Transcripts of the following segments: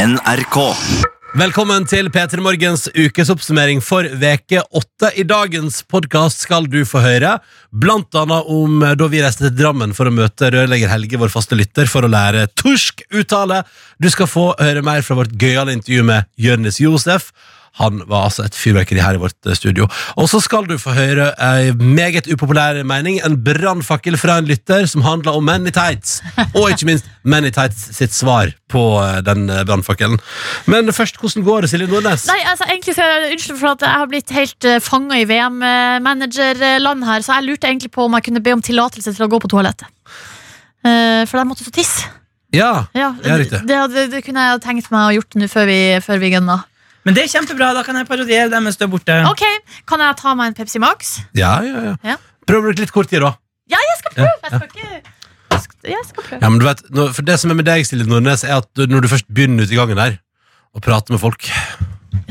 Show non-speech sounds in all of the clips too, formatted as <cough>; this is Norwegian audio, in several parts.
NRK. Velkommen til P3 Morgens ukesoppsummering for veke 8. I dagens podkast skal du få høre blant annet om eh, da vi reiste til Drammen for å møte rørlegger Helge, vår faste lytter, for å lære torsk uttale. Du skal få høre mer fra vårt gøyale intervju med Jonis Josef. Han var altså et fyrverkeri her i vårt eh, studio. Og så skal du få høre ei meget upopulær mening, en brannfakkel fra en lytter som handler om menn i tights. Og ikke minst menn i tights sitt svar på eh, den eh, brannfakkelen. Men først, hvordan går det, Silje Nordnes? Nei, altså egentlig så er jeg Unnskyld for at jeg har blitt helt uh, fanga i VM-managerland her, så jeg lurte egentlig på om jeg kunne be om tillatelse til å gå på toalettet. Eh, for jeg måtte så tisse. Ja, Ja, Ja, det, riktig. det, det kunne jeg ha tenkt meg å gjort nå før vi, før vi gunna. Men det er kjempebra, da kan jeg parodiere deg mens du er borte. Ok, kan jeg ta meg en Pepsi Max? ja, ja, ja. Ja. Prøv å bruke litt kort tid, da. Ja, jeg skal prøve! Jeg skal ikke jeg skal- jeg skal prøve. Ja, men du vet, nå- for Det som er med deg, Silje Nordnes, er at du- når du først begynner ute i gangen der og prater med folk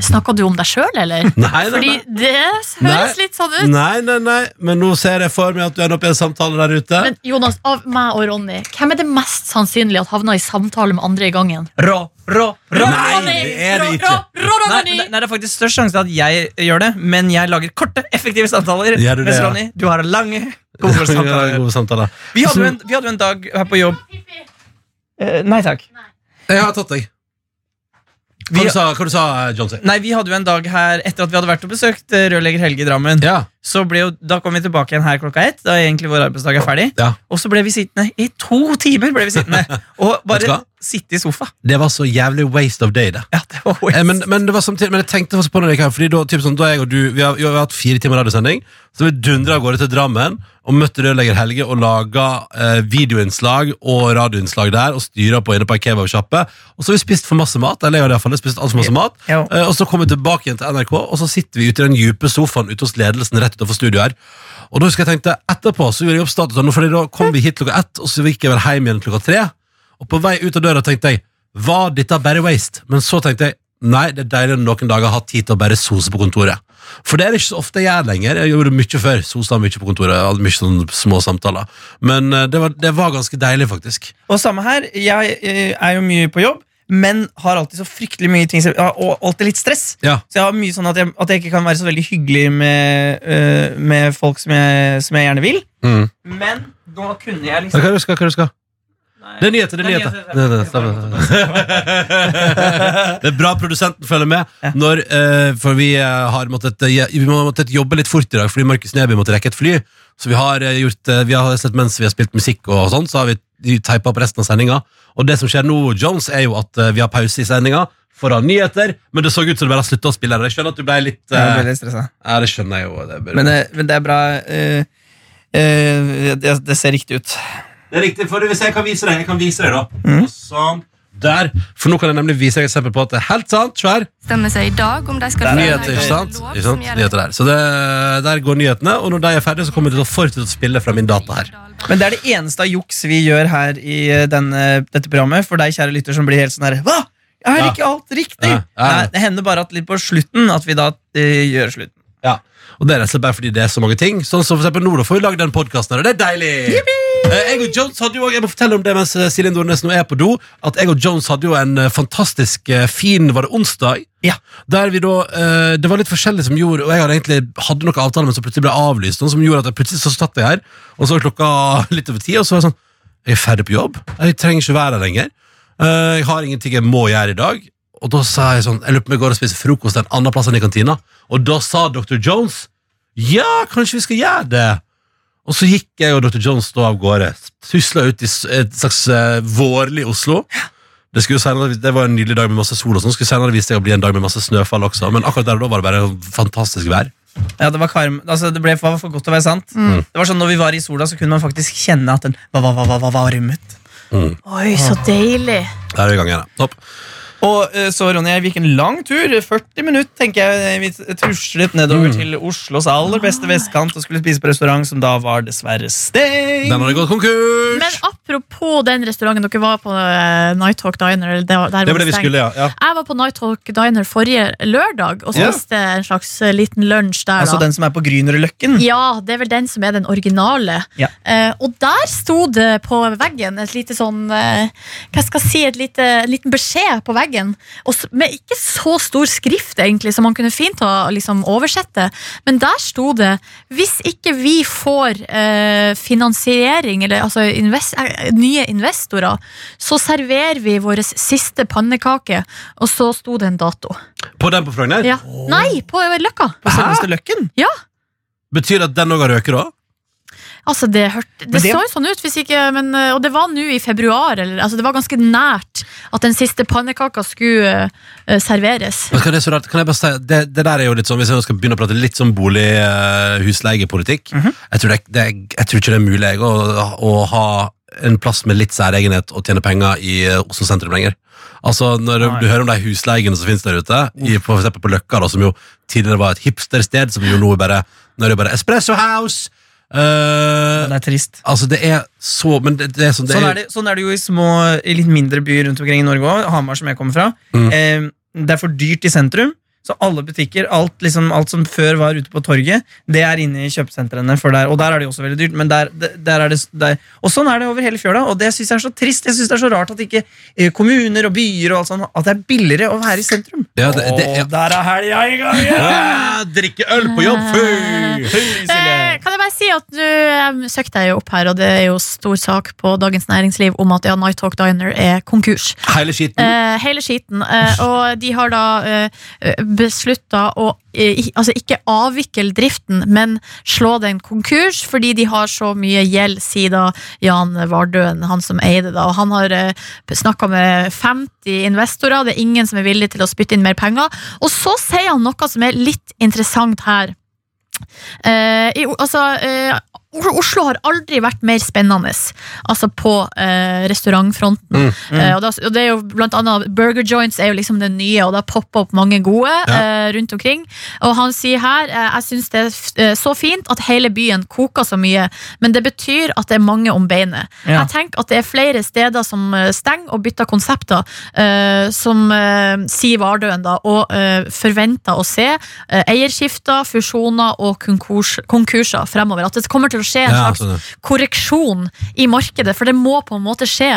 Snakka du om deg sjøl, eller? <laughs> Nei, nei, Fordi nei. det høres Nei. litt sånn ut. Nei, nei, nei, men nå ser jeg for meg at du ender opp i en samtale der ute. Men Jonas, av meg og Ronny, hvem er det mest sannsynlig at havna i samtale med andre i gangen? Rå, rå, rå. Nei, det er det ikke. Nei, men det- nei, det er faktisk størst sjanse til at jeg gjør det, men jeg lager korte, effektive samtaler. Gjør du det, mens ja? Ronny, du har <laughs> lange, gode Ja, samtaler. gode samtaler. Vi hadde, jo en, vi hadde jo en dag her på jobb Eh, Nei takk. Jeg har tatt deg. Hva Vi- du sa du, sa, John? Si? Nei, Vi hadde jo en dag her etter at vi hadde vært og besøkt eh, rørlegger Helge i Drammen. Ja. Så ble jo, Da kom vi tilbake igjen her klokka ett, da egentlig vår arbeidsdag er ferdig. Ja. Og så ble vi sittende i to timer ble vi <laughs> sittende Vet og du bare hva? sitte i sofa. Det var så jævlig waste of day, det. Ja, det var Eh, Men, men det var samtidig Men jeg tenkte også på det her, Fordi da, typ sånn, da jeg og du Vi har, vi har hatt fire timer radiosending Så vi dundret av gårde til Drammen Og møtte rørlegger Helge Og laget eh, videoinnslag og radioinnslag der Og styret på inne på en kebabsjappe Og så har vi spist for masse mat Eller jeg har i hvert fall spist alt for masse mat Ja. eh, Og så kom vi tilbake igjen til NRK Og så sitter vi ute i den djupe sofaen Ute hos ledelsen rett utenfor studio her Og da husker jeg tenkte Etterpå så gjorde jeg opp status nå, Fordi da kom vi hit klokka ett Og så gikk jeg vel hjem igjen klokka tre og på vei ut av døra tenkte jeg Var dette bare waste? Men så tenkte jeg Nei, det er deilig når noen dager har tid til å bare sose på kontoret For det er det ikke så ofte jeg gjør lenger Jeg gjorde mye før, sosa mye på kontoret Jeg hadde mye sånne små samtaler Men eh, det var, det var ganske deilig faktisk Og samme her, jeg eh, er jo mye på jobb, men har alltid så fryktelig mye ting som- ja, Og alltid litt stress. Ja, Så jeg har mye sånn at jeg, at jeg ikke kan være så veldig hyggelig med, eh, med folk som jeg, som jeg gjerne vil. mm. Men nå kunne jeg Hva liksom er det du skal? Hva er det du skal? Det er nyheter, det er nyheter. Det er, det er bra produsenten følger med. Når, eh, for vi eh, har måttet, eh, vi må ha måttet jobbe litt fort i dag, fordi Markus Neby måtte rekke et fly. Så vi har eh, gjort, eh, vi har sett mens vi har spilt musikk og sånn, så har vi teipa opp resten av sendinga. Og det som skjer nå, Jones, er jo at eh, vi har pause i sendinga for å ha nyheter, men det så ut som du bare har slutta å spille. det. Jeg skjønner at du ble litt Jeg ble eh, litt stressa. Ja, det skjønner jeg jo. Det, er bare- Men, eh, men det er bra. eh, eh, det, det ser riktig ut. Det er riktig, for hvis jeg kan vise deg, jeg kan vise deg da. Mhm. Og Sånn. Der. For nå kan jeg nemlig vise deg et eksempel på at det er helt sant, svær. bestemme seg i dag om de skal Nyheter, ikke sant? Ikke sant? Nyheter der. Så det, der går nyhetene, og når de er ferdige, så kommer de til å fortsette å spille fra min data her. Men det er det eneste av juks vi gjør her i eh, denne, dette programmet. For deg, kjære lytter, som blir helt sånn her Hva? Er Ja. ikke alt riktig? Ja, ja. Nei, det hender bare at litt på slutten at vi da eh, gjør slutten. Ja. Og det er rett og slett bare fordi det er så mange ting. Sånn som for eksempel nå, da får vi lagd den podkasten her, og det er deilig! Eh, Jeg og Jones hadde jo også- Jeg må fortelle om det mens eh, Silje Nordnes nå er på do. At jeg og Jones hadde jo en eh, fantastisk eh, fin Var det onsdag? Ja. Der vi da eh, Det var litt forskjellig som gjorde Og jeg hadde egentlig hadde noen avtaler, men så plutselig ble jeg avlyst. Noe som gjorde at jeg plutselig så satt jeg her, og så var klokka <laughs> litt over ti, og så var jeg sånn Jeg er ferdig på jobb. Jeg trenger ikke være her lenger. Eh, Jeg har ingenting jeg må gjøre i dag. Og da sa jeg sånn Jeg lurer på om jeg går og spiser frokost en annen plass enn i kantina. Og da sa dr. Jones Ja, kanskje vi skal gjøre det. Og så gikk jeg og dr. Jones da av gårde. Tusla ut i s- et slags eh, vårlig Oslo. Det, skulle jo senere, det var en nydelig dag med masse sol, og sånn skulle senere vise seg å bli en dag med masse snøfall også. Men akkurat der og da var det bare fantastisk vær. Ja, Det var karm, altså det ble var for godt til å være sant. Mm. Det var sånn når vi var i sola, så kunne man faktisk kjenne at den var, var, var, var varmet. Oi, så deilig. Der er vi i gang igjen. ja. Topp. Og eh, så, Ronny, vi gikk en lang tur. 40 minutter, tenker jeg. Vi tuslet nedover Mm. til Oslos aller beste vestkant og skulle spise på restaurant, som da var dessverre stengt. Den hadde gått konkurs! Men apropos den restauranten dere var på, uh, Nighthawk Diner eller der, der det var var det vi stengt. skulle, ja. ja. Jeg var på Nighthawk Diner forrige lørdag og Ja. spiste en slags eh, liten lunsj der. Altså da. den som er på Grünerløkken. Ja, det er vel den som er den originale. Ja. Eh, og der sto det på veggen et lite sånn eh, Hva skal jeg si, et lite, en liten beskjed på veggen dagen. Og s- med ikke så stor skrift, egentlig, som man kunne fint ha liksom, oversett det. Men der sto det hvis ikke vi får eh, finansiering, eller altså invest, eh, nye investorer, så serverer vi vår siste pannekake. Og så sto det en dato. På den på Frogner? Ja. Nei, på Løkka! På selveste Løkken? Ja, Betyr det at den òg har røket, da? altså det hørte Det det- så jo sånn ut, hvis ikke men, eh, Og det var nå i februar, eller altså Det var ganske nært at den siste pannekaka skulle eh, serveres. Vet du hva, det, er så rart. Kan jeg bare si, det, det der er jo litt sånn, Hvis jeg nå skal begynne å prate litt sånn bolig, eh, husleiepolitikk Mhm. jeg, tror det, det, jeg tror ikke det er mulig jeg, å, å ha en plass med litt særegenhet og tjene penger i eh, Oslo sentrum lenger. Altså, Når du, Nei. du hører om de husleiene som finnes der ute, i, på, for eksempel på Løkka, da, som jo tidligere var et hipstersted, som jo nå er bare, nå er det bare Espresso House! Eh, Det er trist. altså, det er så Men det, det er sånn det Sånn er, det, sånn er det jo i små, i litt mindre byer rundt omkring i Norge òg. Hamar, som jeg kommer fra. Mm. Eh, det er for dyrt i sentrum, så alle butikker, alt, liksom, alt som før var ute på torget, det er inne i kjøpesentrene. For der, og der er det jo også veldig dyrt. Men der, der- der er det, der. Og sånn er det over hele fjøla, og det syns jeg er så trist. Jeg synes Det er så rart at ikke eh, kommuner og byer og alt sånt, at det er billigere å være i sentrum. Ja, det, det Å, er, der er helga i gang! igjen! Ah, drikke øl på jobb! Fy! Hei, Eh, Silje. Kan jeg bare si at nå em, søkte jeg jo opp her, og det er jo stor sak på Dagens Næringsliv om at ja, Night Talk Diner er konkurs. Hele skiten. Eh, hele skiten. Eh, og de har da eh, beslutta å eh, i- altså ikke avvikle driften, men slå den konkurs, fordi de har så mye gjeld, sier da Jan Vardøen, han som eide det. Og han har eh, snakka med 50 investorer, det er ingen som er villig til å spytte inn mer penger. Og så sier han noe som er litt interessant her. Eh, i, O- altså, eh, Oslo har aldri vært mer spennende Altså på eh, restaurantfronten. Mm, mm. Eh, og, da, og det er jo blant annet Burger joints er jo liksom det nye, og det har poppa opp mange gode eh, rundt omkring. Og han sier her eh, jeg syns det er f eh, så fint at hele byen koker så mye, men det betyr at det er mange om beinet. Ja. Jeg tenker at det er flere steder som eh, stenger og bytter konsepter, eh, som eh, sier Vardøen, da, og eh, forventer å se eh, eierskifter, fusjoner og konkurs, konkurser fremover. At det kommer til å skje en Ja, slags sånn, ja. korreksjon i markedet, for det må på en måte skje.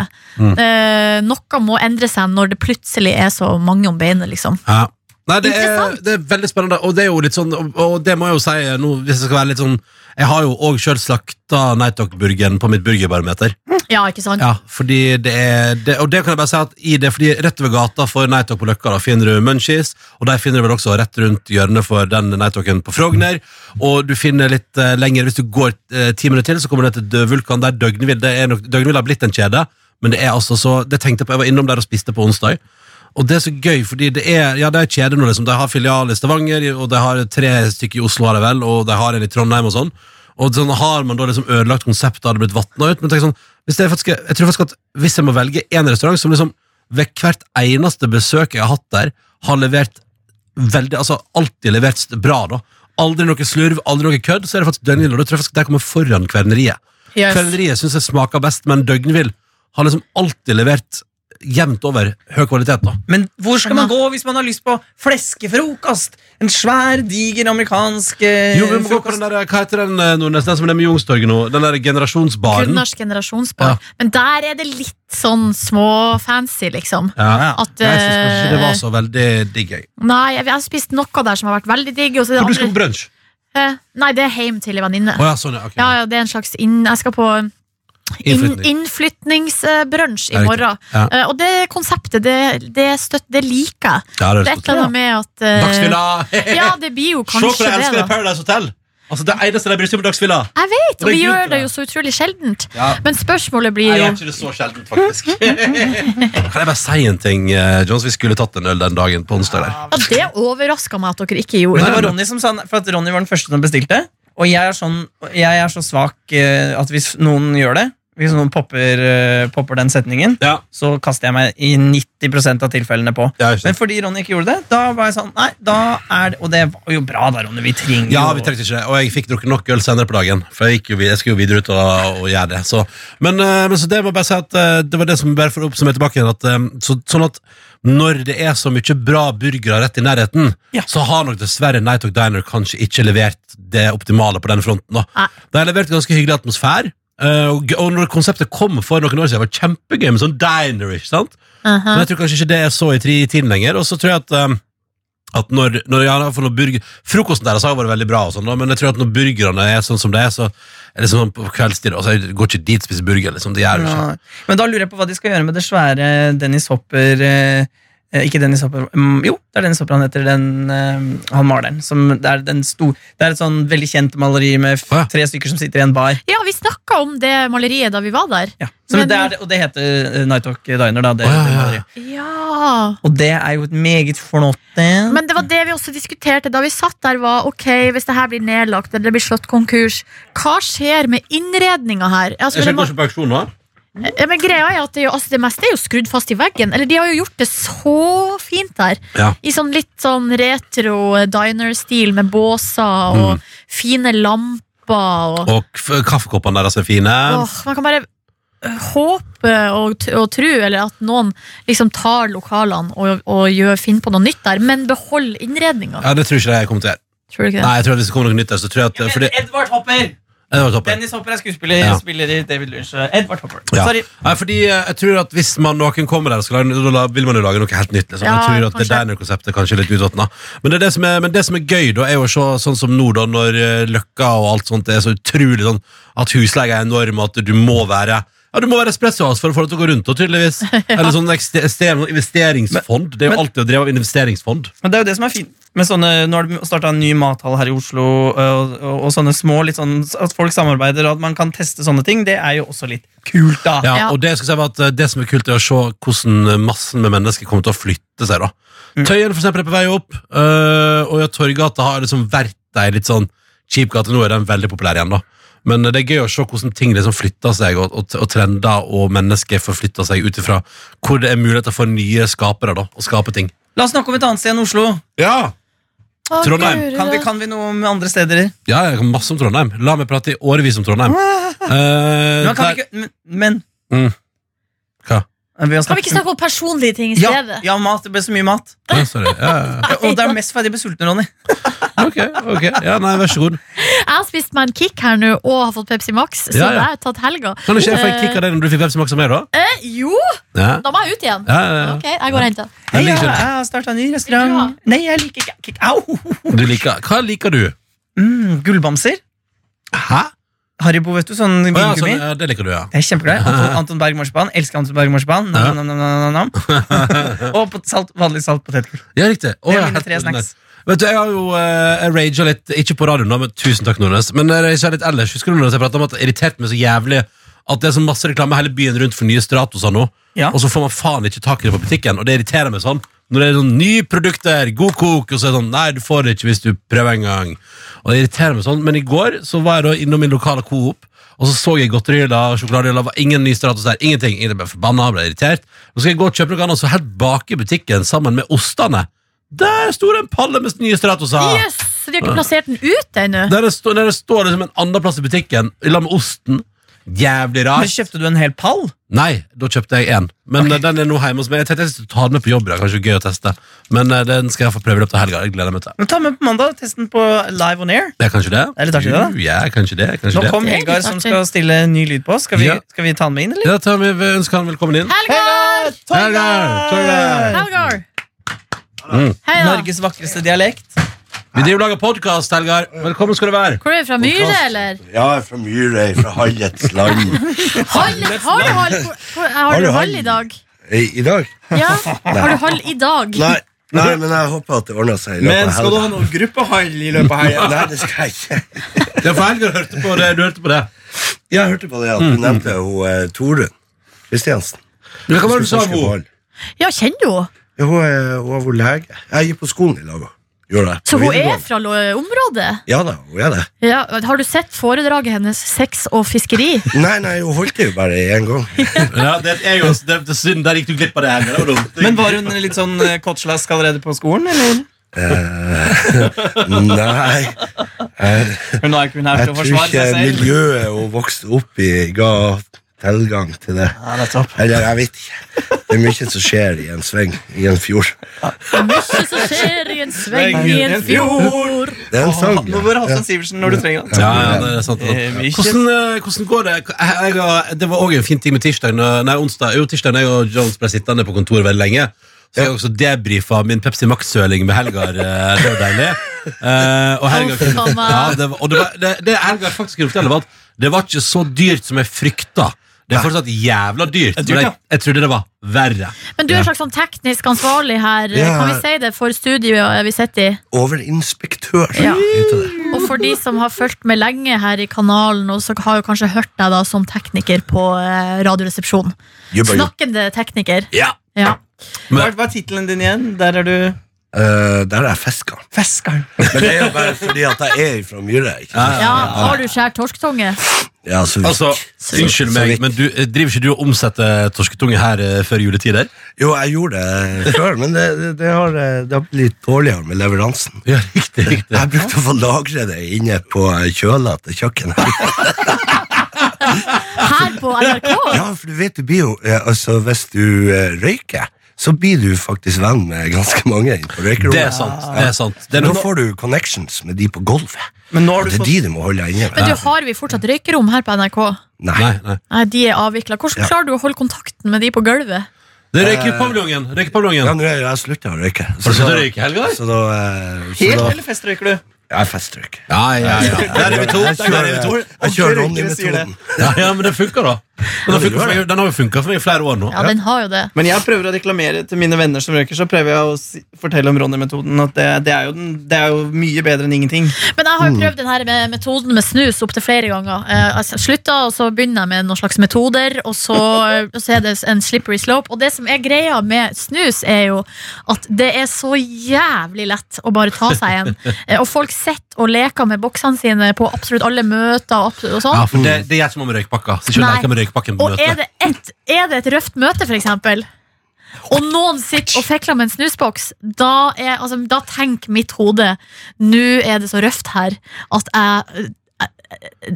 Mm. Eh, noe må endre seg når det plutselig er så mange om beinet, liksom. Ja. Nei, det er, Interessant. det er veldig spennende, og det er jo litt sånn Og, og det må jeg jo si nå, hvis jeg skal være litt sånn Jeg har jo òg sjøl slakta Nighthawk-burgeren på mitt burgerbarometer. Ja, ikke sant? Ja, fordi det er det, Og det kan jeg bare si at i det, fordi rett over gata for Nighthawk på Løkka da finner du Munchies, og der finner du vel også rett rundt hjørnet for den Nighthawken på Frogner. Og du finner litt eh, lenger, hvis du går eh, ti minutter til, så kommer du ned til Dø- Vulkan. Der Døgnvill det er nok, Døgnvill har blitt en kjede, men det er altså så Det tenkte jeg på, jeg var innom der og spiste på onsdag. Og det er så gøy, fordi det er Ja, det er kjeder nå, liksom. De har filial i Stavanger, og de har tre stykker i Oslo, har de vel, og de har en i Trondheim og sånn. Og sånn har man da liksom ødelagt konseptet, har det blitt vatna ut? Men tenk sånn, hvis jeg, faktisk, jeg tror faktisk at hvis jeg må velge én restaurant som liksom ved hvert eneste besøk jeg har hatt der, har levert veldig Altså alltid levert st- bra, da. Aldri noe slurv, aldri noe kødd, så er det faktisk Døgnvill, og da tror jeg faktisk de kommer foran Kverneriet. Yes. Kverneriet syns jeg smaker best, men Døgnvill har liksom alltid levert jevnt over høy kvalitet, da. Men hvor skal man gå hvis man har lyst på fleskefrokost? En svær, diger amerikansk eh, Jo, vi må gå på den frokost. der, Hva heter den, eh, Nordnes, den som er nede med Youngstorget nå? Den der generasjonsbaren? Gunnars generasjonsbar. Ja. Men der er det litt sånn småfancy, liksom. Ja. At, Jeg syns kanskje det eh, var så veldig digg, jeg. Nei, jeg jeg har spist noe der som har vært veldig digg. Og så er For du det skal på andre, brunsj? eh, nei, det er hjem til en venninne. Å ja, sånn, ja. ok. Ja, ja, det er en slags inn, Jeg skal på um, inn, Innflytning. innflytningsbrunsj Ja, i riktig. morgen. Ja. Eh, og det konseptet, det, det, støtt, det liker jeg. Ja, det Det er høres et godt ut. eller annet med at eh, Dagsfylla! <laughs> Ja, det blir jo Se kanskje for deg det, elskede da. Paradise Hotel! Altså, Det eneste de bryr seg om, er Dagsfylla. Jeg vet, Og og det er vi grunn gjør det til det. jo så utrolig sjeldent. Ja. Men spørsmålet Nei, blir jeg jo gjør ikke det så sjeldent, <laughs> faktisk. kan jeg bare si en ting, eh, Jones? Vi skulle tatt en øl den dagen på onsdag der. ja, Det overraska meg at dere ikke Ah, Men gjorde. det var Ronny som sa For at Ronny var den første som bestilte. Og jeg er, sånn, jeg er så svak eh, at hvis noen gjør det, hvis noen popper, eh, popper den setningen, Ja, så kaster jeg meg i 90 av tilfellene på. ja, ikke Men sant. fordi Ronny ikke gjorde det, da var jeg sånn Nei, da er det Og det var jo bra, da, Ronny. Vi trenger ja, jo- vi trengte ikke det. Og jeg fikk drukket nok øl senere på dagen. For jeg, gikk jo, vid- jeg skulle jo videre ut og, og gjøre det. Så, men, eh, men så det må jeg bare si at eh, det var det som bare for å oppsummere tilbake igjen. At, eh, så, sånn at når det er så mye bra burgere rett i nærheten, Ja. så har nok dessverre Night Talk Diner kanskje ikke levert det optimale på den fronten. Da. Nei. De har levert ganske hyggelig atmosfære. Eh, og, g- og når konseptet kom for noen år siden, var det kjempegøy med sånn diner. ikke sant? Aha. Men jeg tror kanskje ikke det er så i tri- tiden lenger. Og så tror jeg at, ehm, at når, når, ja, i hvert fall når burger, Frokosten deres har jo vært veldig bra, og sånn, da, men jeg tror at når burgerne er sånn som det er, så er det sånn på kveldstid altså, Jeg går ikke dit og spiser burger. liksom, det gjør jeg ikke. Nei. Men da lurer jeg på hva de skal gjøre med det svære Dennis Hopper eh, eh, Ikke Dennis Hopper mm, Jo, det er Dennis Hopper han heter, den, eh, han maleren. Som, det, er den sto, det er et sånn veldig kjent maleri med f Å ja. tre stykker som sitter i en bar. Ja, vi snakka om det maleriet da vi var der. Ja. Så, men, Men- det er, det- og det heter eh, Night Talk Diner. Da, Å det, ja, det ja, ja. maleriet. Ja Og det er jo et meget flott en. Men det var det vi også diskuterte da vi satt der, var ok, hvis det her blir nedlagt eller det blir slått konkurs, hva skjer med innredninga her? Altså, men, det må- ikke på auksjon nå. ja, men greia er at det, er jo, altså, det meste er jo skrudd fast i veggen. Eller de har jo gjort det så fint der. Ja. I sånn litt sånn retro diner-stil med båser og fine lamper og Mm. Og f- kaffekoppene deres er fine. Åh, Man kan bare øh, håpe og, t- og tro eller at noen liksom tar lokalene og, og gjør, finner på noe nytt der, men behold innredninga. Ja, Det tror ikke jeg kommer til å gjøre. Tror du ikke det? Nei, jeg tror at Hvis det kommer noe nytt der, så tror jeg at fordi, Edvard Hopper! Ja, det var toppen. Dennis Hopper er skuespiller, Ja. spiller i David Lynch. Edvard Hopper. Ja. Sorry. Nei, fordi eh, jeg tror at Hvis man, noen kommer der, og skal lage, da la- vil man jo lage noe helt nytt. Liksom. Ja, jeg tror at det kanskje. diner-konseptet er kanskje litt utvatnet. Men, det er det som er- men det som er gøy, da, er jo å se sånn som nå, da, når eh, Løkka og alt sånt er så utrolig sånn at husleia er enorm, og at du må være ja, Du må være espressoas for å få det til å gå rundt, <laughs> da, tydeligvis. Eller sånn ekste- ekstern investeringsfond. Det er jo men- alltid å drive av investeringsfond. Men det er jo det som er fint med sånne Nå har det starta en ny mathall her i Oslo, og, og, og sånne små litt sånn At folk samarbeider, og at man kan teste sånne ting, det er jo også litt kult, da. Ja, Ja. og det, jeg skal si var at eh, det som er kult, er å se hvordan eh, massen med mennesker kommer til å flytte seg. da. Tøyen for eksempel, er på vei opp, eh, og ja, Torggata har liksom vært ei litt sånn kjip gate. Nå er den veldig populær igjen, da. Men eh, det er gøy å se hvordan ting liksom flytter seg, og, og, og trender og mennesker forflytter seg ut ifra hvor det er muligheter for nye skapere da, å skape ting. La oss snakke om et annet sted enn Oslo. Ja! Å, Trondheim. Gud, Kan vi, ja. kan vi noe om andre steder? ja, jeg kan masse om Trondheim. La meg prate i årevis om Trondheim. Eh, Men, kan der- vi ikke, men- men Mm. Hva? vi har Kan vi ikke snakke om personlige ting i ja, stedet? ja, mat. Det ble så mye mat. Ja, sorry. Ja, ja, Og det er mest fordi jeg ble sulten, Ronny. ja. Ok, ok. Ja, nei, vær så god. Jeg har spist meg en kick her nå og har fått Pepsi Max, så Ja, ja. det har jeg tatt helga. Kan ikke jeg få en kick av deg når du fikk Pepsi Max av meg, da? Eh, jo, Ja. da må jeg ut igjen. Ja, ja, ja. Ok, jeg går og henter. Hei, Jeg jeg liker ikke har starta ny Vil du restaurant. ha? Nei, jeg liker ikke kick. Au! det. Du liker, hva liker du? Mm, gullbamser. Hæ? Haribo, vet du. Sånn Å, ja, vingummi. sånn, ja, det liker du, ja. Jeg er kjempeglad. i Anton, Anton Berg Marsipan. Elsker Anton Berg Marsipan. Nam, nam, nam, nam, nam, <laughs> nam. og pot- salt, vanlig salt potetgull. Ja, riktig. Å, Det er ja, mine helt tre ordinært. snacks. Vet du, Jeg har jo eh, jeg raget litt, ikke på radioen, da, men tusen takk, Nordnes. Men eh, jeg raget litt ellers. Husker du når jeg pratet om at det irriterte meg så jævlig at det er så masse reklame hele byen rundt for nye Stratoser nå, Ja. og så får man faen ikke tak i det på butikken, og det irriterer meg sånn. Når det er sånn nye produkter, god kok, og så er det sånn Nei, du får det ikke hvis du prøver en gang. Og det irriterer meg sånn. Men i går så var jeg da innom min lokale Coop, og så så jeg godterihylla, sjokoladehylla, var ingen ny Stratos der, ingenting. Jeg ble forbanna, ble irritert. Så skal jeg gå og kjøpe noe annet, så helt bak i butikken sammen med ostene. Der sto det en palle med nye Stratoser! Jøss, de har ikke plassert den ut ennå. Der det, står, der det står liksom en annen plass i butikken, i lag med osten. Jævlig Men rart. kjøpte du en hel pall? Nei, da kjøpte jeg én. Men eh, den er nå hjemme hos meg. Jeg tenkte jeg skulle ta den med på jobb. Det er kanskje gøy å teste. Men eh, den skal jeg få prøve i løpet av helga. Jeg gleder meg til det. Men Ta med på mandag. Test den på Live on Air. Det er kanskje det. Det er litt artig, det, da. Jo, Ja, kanskje det. Nå Kanskje det. kom Det er Helgar litt som artig. skal stille ny lyd på oss. Skal vi, Ja. skal vi ta han med inn, eller? Ja, Tommy, vi ønsker han velkommen inn. Helgar! Helgar! Helgar! Helgar! Mm. Hei da. Norges vakreste dialekt. Vi driver og lager podkast, Helgar. Velkommen skal du være. Hvor er du fra? Myhre, eller? Ja, jeg er fra Myhre, jeg er fra Hallets land. Hall, har du hall, hvor- hvor- har Har du du hall hall? i dag? I, I dag? Ja, har du hall i dag? Nei, nei, men jeg håper at det ordner seg i løpet av helga. noen gruppehall i løpet av helga? Nei, det skal jeg ikke. Ja, for Helgar hørte på det. Du hørte på det. Jeg hørte på det at Mm. du nevnte hun eh, Torunn Kristiansen. Men Hva var det du sa om Hun henne? er- Ja, kjenner du henne? Hun har vært lege. Jeg gikk på skolen i lag med henne. Så hun er fra lo- området? Ja da, hun er det. Ja, har du sett foredraget hennes 'Sex og fiskeri'? Nei, nei, hun holdt det jo bare én gang. <laughs> Ja, det er jo det er synd. Der gikk du glipp av det. Helgar. Det var dumt. Men var hun litt sånn eh, kotslask allerede på skolen, eller? Nei, Hun er ikke hun er jeg tror til å forsvare ikke seg selv. miljøet hun vokste opp i, ga tilgang til det. Ja, nettopp. Eller jeg vet ikke. Det er mye som skjer i en sving i en fjord. Mye som skjer i en sveng i en fjord. Det er en sang. Nå bør Halvdan Sivertsen når du trenger han. Ja, ja, det er sant. det er Eh, mye sant. Hvordan, eh, hvordan går det? Jeg, jeg, har- det var òg en fin tid med tirsdag. når- Nei, onsdag. Jo, tirsdag når jeg og Jones ble sittende på kontoret veldig lenge. Så jeg også debrifa min Pepsi Max-søling med Helgar. eh, Det var deilig. Eh, og Å, Helgar faen meg. ja, det, var, og det, var, det, det Helgar faktisk kunne fortelle, var at det var ikke så dyrt som jeg frykta. Det er fortsatt jævla dyrt, er dyrt, men ja. jeg, jeg trodde det var verre. Men du er en slags sånn teknisk ansvarlig her. Ja. Kan vi si det for studioet vi sitter i? Overinspektør. Ja. heter det. Og for de som har fulgt med lenge her i kanalen, og så har jo kanskje hørt deg da som tekniker på eh, Radioresepsjonen. Jubba, jubba. Snakkende tekniker. Ja. Ja. Hva er- hva er tittelen din igjen? Der er du Eh, der er jeg fiska. Feskeren. Men det er jo bare fordi at jeg er fra Myhre. ikke sant? ja, Har du skjær torsktunge? Ja, så vidt. Altså, Unnskyld så meg, vidt. men du, eh, driver ikke du og omsetter torsketunge her eh, før juletider? Jo, jeg gjorde det før, men det, det, det, har, eh, det har blitt litt dårligere med leveransen. Ja, riktig, riktig Jeg brukte å få lagre det inne på eh, kjøla til kjøkkenet. Her på NRK? Ja, for du vet, det blir jo eh, Altså, hvis du eh, røyker, så blir du faktisk venn med ganske mange inn på Det er røykerommet. sant. det er sant det er Nå noe, får du connections med de på gulvet. Men nå har Og du det er fått de du må holde deg inne med. Men du, har vi fortsatt røykerom her på NRK? Nei. Nei, nei Nei, de er avvikla. Hvordan Ja. klarer du å holde kontakten med de på gulvet? Det er røykepaviljongen Ja, Røykepaviljongen nå har jeg slutta å røyke. Har du sluttet å røyke i helga? Så da, eh, så Helt, da eller festrøyker du? Jeg er festrøyker. Ja, ja, ja Der er vi to Jeg Der kjører, jeg er vi to Ordentlig kjører røykere sier det. Ronny-metoden. Ja, ja, men det funker da Den har, funket for meg, den har jo funket for meg i flere år nå Ja, den har jo det. Men jeg prøver å reklamere til mine venner som røyker, så prøver jeg å si, fortelle om Ronny-metoden. At det, det, er jo den, det er jo mye bedre enn ingenting. Men jeg har jo prøvd den her med metoden med snus opptil flere ganger. Eh, Jeg slutta, og så begynner jeg med noen slags metoder, og så, eh, og så er det en slippery slope. Og det som er greia med snus, er jo at det er så jævlig lett å bare ta seg en. Eh, Og folk sitter og leker med boksene sine på absolutt alle møter og, absolutt, og sånn. Ja, for det, det gjør som om røykpakka Så ikke Nei. leker med røykpakken på Og er møtet det et, er det et røft møte, for eksempel? Og noen sitter og fekler med en snusboks. Da, er, altså, da tenker mitt hode Nå er det så røft her at jeg eh,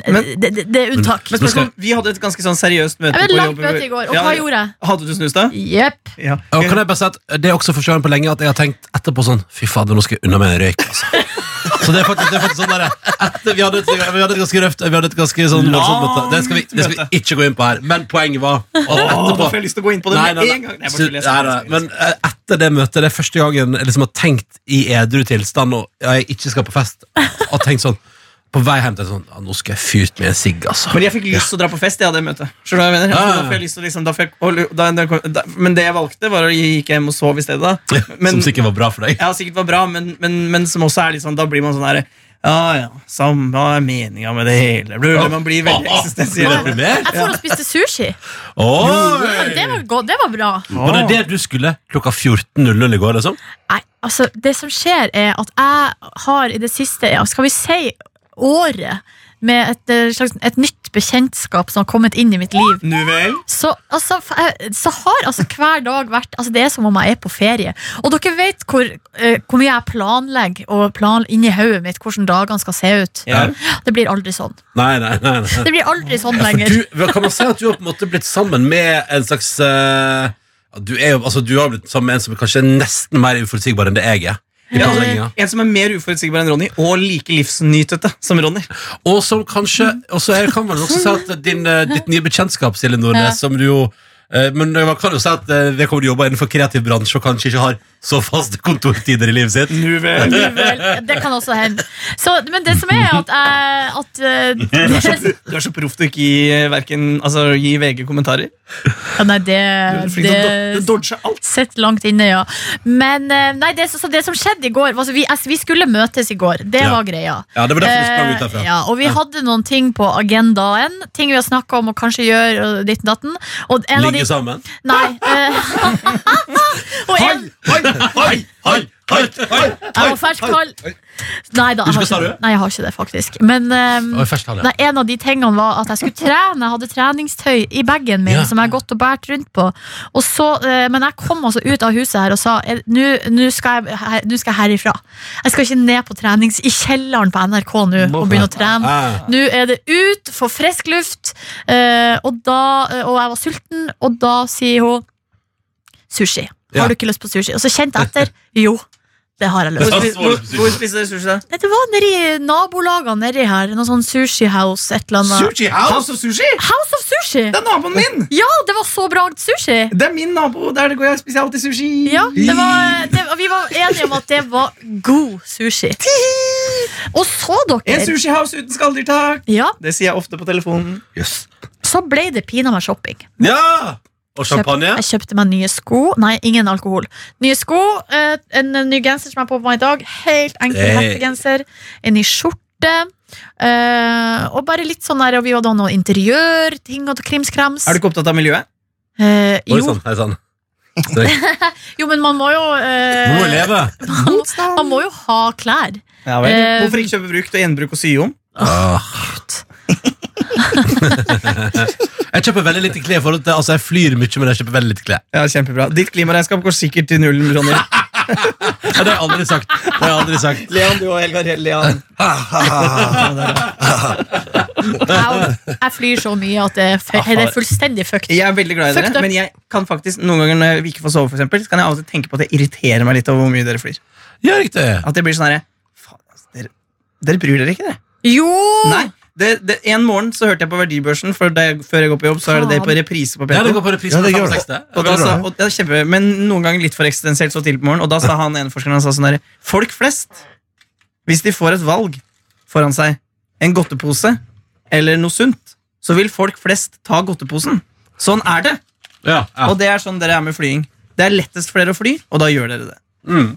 Men- det, det, det er unntak. Men spørsmål, vi hadde et ganske sånn seriøst møte. Jeg var på langt jobb. møte i går, og Ja, hva ja. gjorde jeg? Hadde du snus, da? Jepp. Ja. og kan jeg bare si at Det er også forskjellen på lenge at jeg har tenkt etterpå sånn Fy fader, nå skal jeg unna med en røyk altså. Så det er faktisk, det er faktisk sånn der etter, vi, hadde et, vi hadde et ganske røft Vi hadde et ganske sånn voldsomt møte. det skal, vi, det skal vi ikke gå inn på her Men poenget var at Åh, da etterpå får jeg lyst til å gå inn på det Nei, med nei, en gang. nei. Nei, jeg bare Så- tuller, nei, jeg skal- nei, jeg skal- Men eh, etter det møtet, det er første gangen jeg liksom har tenkt i edru tilstand og jeg ikke skal på fest, og tenkt sånn på vei hjem til sånn ja, Nå skal jeg fyrt med en sigg, altså. Men jeg fikk lyst til å dra på fest, jeg, av det møtet. Skjønner du hva jeg mener? Ja, ja, ja. Da får jeg lyst til å liksom, da får jeg, og- da, da, da, men det jeg valgte, var å gikk hjem og sove i stedet. Da. Men, Som sikkert var bra for deg. ja, sikkert var bra, men, men, men som også er litt sånn, da blir man sånn her Ja, ja, samme er meninga med det hele. Blir, Man blir veldig Ah, ah, eksistensiell. vil det bli mer? Jeg får og spiste sushi. Oi! Ja, Det var, godt, det var bra. Var det det du skulle klokka 14.00 i går, liksom? Nei, altså, det som skjer er at jeg har i det siste, ja, skal vi si året, med et, eh, slags, et nytt bekjentskap som har kommet inn i mitt liv. Nu vel? Så, altså, f- eh, så har altså hver dag vært altså, Det er som om jeg er på ferie. Og dere vet hvor, eh, hvor mye jeg planlegger og plan, inni hodet mitt hvordan dagene skal se ut. Ja. Det blir aldri sånn. Nei, nei, nei. nei. Det blir aldri sånn Ja, for lenger. du, vel, kan man si at du har på en måte blitt sammen med en slags eh, ja, du, er jo, altså, du har blitt sammen med en som er kanskje nesten mer uforutsigbar enn det jeg er. I Ja. planlegginga. Eh, En som er mer uforutsigbar enn Ronny, og like livsnytete som Ronny. Og som kanskje Og så er- kan man også si at din, eh, ditt nye bekjentskap, Silje Nordnes, Ja. som du jo eh, men man kan jo si at eh, vedkommende jobber innenfor kreativ bransje og kanskje ikke har så faste kontortider i livet sitt. Nu vel? Vel, Det kan også hende. Så, men det som er, at, jeg- at eh, Du er så, du er så proff til ikke å gi, eh, hverken- altså, gi VG kommentarer. ja, Nei, Du er det, flink til å do- det du dodger alt. Sitt langt inne, ja. Men eh, nei, det, så, så det som skjedde i går altså, vi, altså, vi skulle møtes i går. Det Ja. var greia. Ja, det var derfor du sprang ut Eh, derfra. ja, og vi hadde noen ting på agendaen. Ting vi har snakka om og kanskje gjør og ditt og datten. Og en av Ligge de sammen. <laughs> Nei. eh, <laughs> og en Hei, hei, hei, hei, hei. Jeg var fersk kald. Nei, da, jeg har Husker ikke du? det. Nei, jeg har ikke det, faktisk. Men ehm, Oi, først han, ja. Nei, en av de tingene var at jeg skulle trene. Jeg hadde treningstøy i bagen min Ja. som jeg har gått og båret rundt på. Og så, eh, men jeg kom altså ut av huset her og sa eh, nå nå skal, jeg her- nå skal jeg herifra. Jeg skal ikke ned på trenings i kjelleren på NRK nå og begynne å trene. Ah. Nå er det ut, få frisk luft. eh, og, da, eh, og jeg var sulten, og da sier hun sushi. Ja. Har du ikke lyst på sushi? Og så kjente jeg etter. Jo, det har jeg lyst Hvor, på. Ja, spi- så var hvor, det sushi. hvor spiser dere sushi, da? Nei, Det var nedi nabolagene nedi her. Noe sånn sushi house, et eller annet. Sushi House of Sushi? House of sushi! Det er naboen min! Ja, det var så bra sushi! Det er min nabo. Der det går jeg spiser alltid sushi. Ja, det var, det, Vi var enige om at det var god sushi. Og så, En dere, sushi house uten skalldyrtak. ja, Det sier jeg ofte på telefonen. Jøss. så ble det pinadø shopping. Ja! Og champagne. Jeg kjøpte meg nye sko. Nei, ingen alkohol. Nye sko, eh, en ny genser som jeg har på meg i dag. Helt enkel Hey. hettegenser. En ny skjorte. eh, og bare litt sånn der, og vi hadde også noe interiørting og krimskrams. Er du ikke opptatt av miljøet? Eh, Oi jo. sånn. sann, hei sann. Strek. jo, men man må jo eh, Må jo leve. Man må jo ha <laughs> klær. Ja, vel. Eh, Hvorfor ikke kjøpe brukt og gjenbruk og sy om? <laughs> Jeg kjøper veldig lite klær. i forhold til, altså Jeg flyr mye, men jeg kjøper veldig lite klær. Ja, kjempebra. Ditt klimaregnskap går sikkert til null. Ronny. Ja, det har jeg aldri sagt. Det har jeg aldri sagt. <laughs> Leon, du og Helgar Leon. Jeg, jeg flyr så mye at det er, fe- det er fullstendig fucked. <laughs> Jeg er veldig glad i Fucked dere, up. men jeg kan faktisk noen ganger når vi ikke får sove, for eksempel, så kan jeg av og til tenke på at jeg irriterer meg litt over hvor mye dere flyr. Ja, riktig. At jeg blir sånn herre Faen, altså, dere, dere bryr dere ikke, dere. Jo! Nei. Det, det, en morgen så hørte jeg på Verdibørsen, for da jeg, før jeg går på jobb, så er det det på Faen. reprise på Ja, det P2. går på reprise. Ja, det på gjør det. 65. Og da sa, og, ja, kjempe, men noen ganger litt for eksistensielt så tidlig på morgenen. Og da <laughs> sa han ene forskeren han sa sånn der, Folk flest, hvis de får et valg foran seg, en godtepose eller noe sunt, så vil folk flest ta godteposen. Sånn er det. Ja, ja. Og det er sånn dere er med flying. Det er lettest for dere å fly, og da gjør dere det. Mm.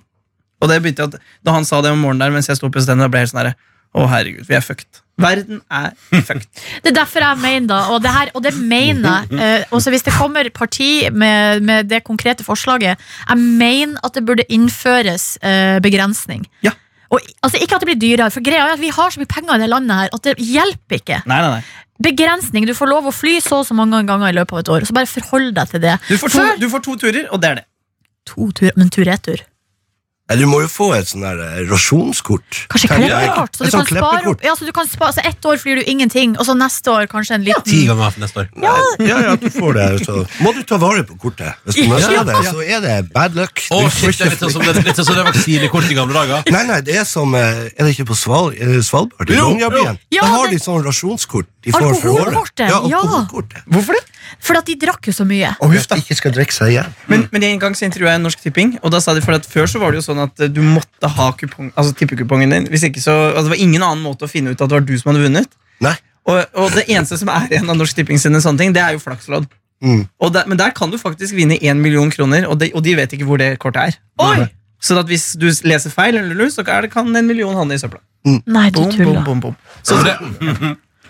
Og det begynte jeg at, Da han sa det om morgenen der mens jeg sto på stedet, ble jeg helt sånn der, Å, herregud, vi er fucked. Verden er fucked. Det er derfor jeg mener da, og det, her, og det mener jeg. Eh, også hvis det kommer parti med, med det konkrete forslaget, jeg mener at det burde innføres eh, begrensning. Ja. Og, i- altså, ikke at det blir dyrere, for greia er at vi har så mye penger i det landet her at det hjelper ikke. Nei, nei, nei. Begrensning. Du får lov å fly så og så mange ganger i løpet av et år, så bare forhold deg til det. Du får to, Før- du får to turer, og det er det. To tur, men tur-retur. Nei, Du må jo få et sånn der eh, rasjonskort. Kanskje Tenker jeg. kleppekort. Så Et du kan sånt spare kleppekort. opp. Ja, så du kan spare, så ett år flyr du ingenting, og så neste år kanskje en liten Ti ganger for neste år. Ja, ja, ja, du får det. Så må du ta vare på kortet. Hvis du mister Ja. det, så er det bad luck. Å, Du får shit, det ikke er litt sånn som det, litt sånn som det vaksinekort i gamle <laughs> dager. Nei, nei, det er som eh, Er det ikke på Sval, eh, Svalbard? I Jo, Longyearbyen? jo. Ja, Da har de det- sånn rasjonskort de får for året. Alkoholkortet, Ja, ja. alkoholkortet. Hvorfor det? Fordi at de drakk jo så mye. Og huff da. Ikke skal drikke seg igjen. Men, men en gang så intervjuet jeg Norsk Tipping, og da sa de for at før så var det jo sånn at eh, du måtte ha kupong, altså tippekupongen din. Hvis ikke så, altså Det var ingen annen måte å finne ut at det var du som hadde vunnet. Nei. Og, og det eneste som er igjen av Norsk Tipping sine sånne ting, det er jo flakslodd. Mm. Og der- men der kan du faktisk vinne én million kroner, og de, og de vet ikke hvor det kortet er. Oi! Så at hvis du leser feil, eller lus, så er det, kan en million havne i søpla. Nei, du Bom, bom, tuller. bom, bom. Så det,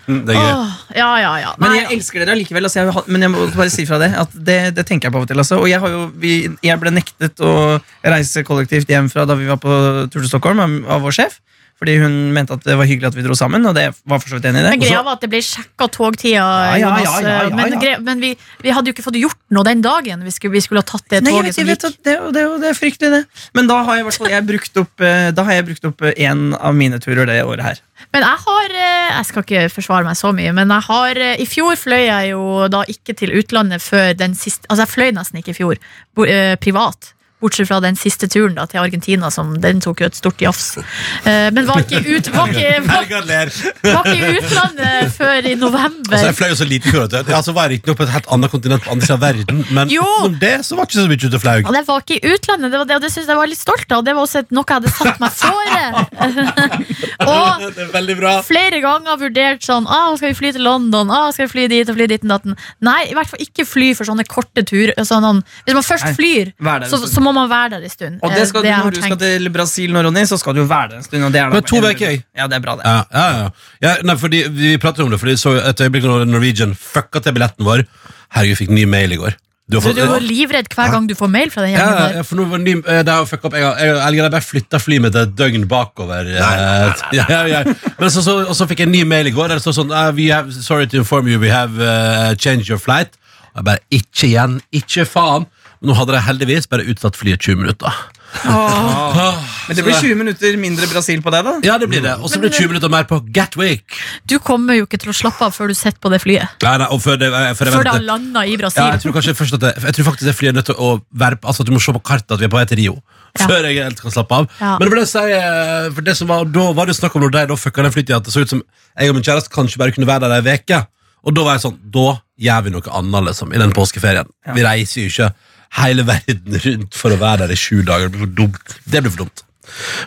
det er gøy. Åh, ja, ja, ja. Men Nei, jeg elsker dere allikevel. Altså, jeg, har- men jeg må bare si fra det at det, det tenker jeg på av og til. Altså. Og jeg, har jo, vi, jeg ble nektet å reise kollektivt hjem fra da vi var på tur til Stockholm av- av vår sjef. Fordi hun mente at det var hyggelig at vi dro sammen, og det var for så vidt enig i Men det. greia Og så- var at det ble sjekka togtida. Ja, ja, Jonas. eh, ja, ja, ja, Men, ja. grei- men vi, vi hadde jo ikke fått gjort noe den dagen. Vi skulle, vi skulle ha tatt det Nei, jeg toget vet, jeg vet, som at gikk. det, er jo- det, er jo- det er fryktelig, det. Men da har jeg, i hvert fall- jeg brukt opp eh, Da har jeg brukt opp én av mine turer det året her. Men jeg har eh, Jeg skal ikke forsvare meg så mye, men jeg har eh, I fjor fløy jeg jo da ikke til utlandet før den siste Altså, jeg fløy nesten ikke i fjor. bo- eh, Privat. Bortsett fra den siste turen da, til Argentina, som den tok jo et stort jafs. Eh, Men var ikke, ut, var, ikke, var, Helga ler. var ikke i utlandet før i <laughs> Altså, jeg november. fløy jo så lite før. vet du. Altså, var jeg riktignok på et helt annet kontinent på andre siden av verden, men Jo. utenom det så var det ikke så mye ute og flaug. Og det var ikke i utlandet, det var det, og det synes jeg var litt stolt av. Det var også et, noe jeg hadde satt meg <laughs> fore. og Det er veldig bra. flere ganger vurdert sånn ah, Skal vi fly til London? Ah, skal vi fly dit og fly dit og datten? Nei, i hvert fall ikke fly for sånne korte turer. Sånn, hvis man først Nei, flyr, vær der en så, stund. så må man være der en stund. Og Eh, det skal du, jeg har når du skal tenkt. til Brasil nå, Ronny, så skal du jo være der en stund. Og det er da Men to en- veker, jeg. Ja, det er bra, det. Ja, ja, ja. ja nei, fordi Vi prater om det, fordi så et øyeblikk når Norwegian fucka til billetten vår. Herregud, jeg fikk ny mail i går. Du har Så fått, du er jo livredd hver gang du får mail fra den ja, gjengen ja, der. ja, for nå var det ny- eh, det har jo fucka opp. Jeg har, jeg, eller jeg har bare flytta flyet mitt et døgn bakover. eh, <laughs> Ja, ja, ja. Men så, så, og så fikk jeg en ny mail i går der det står sånn eh, we have, Sorry to inform you, we have eh, changed your flight. Og jeg bare Ikke igjen. Ikke faen. Men nå hadde de heldigvis bare utsatt flyet 20 minutter. Ah. Men det blir 20 minutter mindre Brasil på deg, da. Ja, det blir det. Og så blir det 20 minutter mer på Gatwick. Du kommer jo ikke til å slappe av før du sitter på det flyet. Nei, nei, og før det, eh, før jeg Før det venter- har landa i Ja, Brasil. jeg tror kanskje først at det, Jeg tror faktisk det flyet er nødt til å være Altså at du må se på kartet at vi er på vei til Rio Ja. Før jeg helt kan slappe av Ja. Men det ble det å si eh, For det som var Da var det jo snakk om når de da fucka den flytida At det så ut som Jeg og min kjæreste kanskje bare kunne være der en veke Og da var jeg sånn Da gjør vi noe annet liksom I den påskeferien Vi reiser jo ikke hele verden rundt For å være der i sju dager Det blir for dumt Det blir for dumt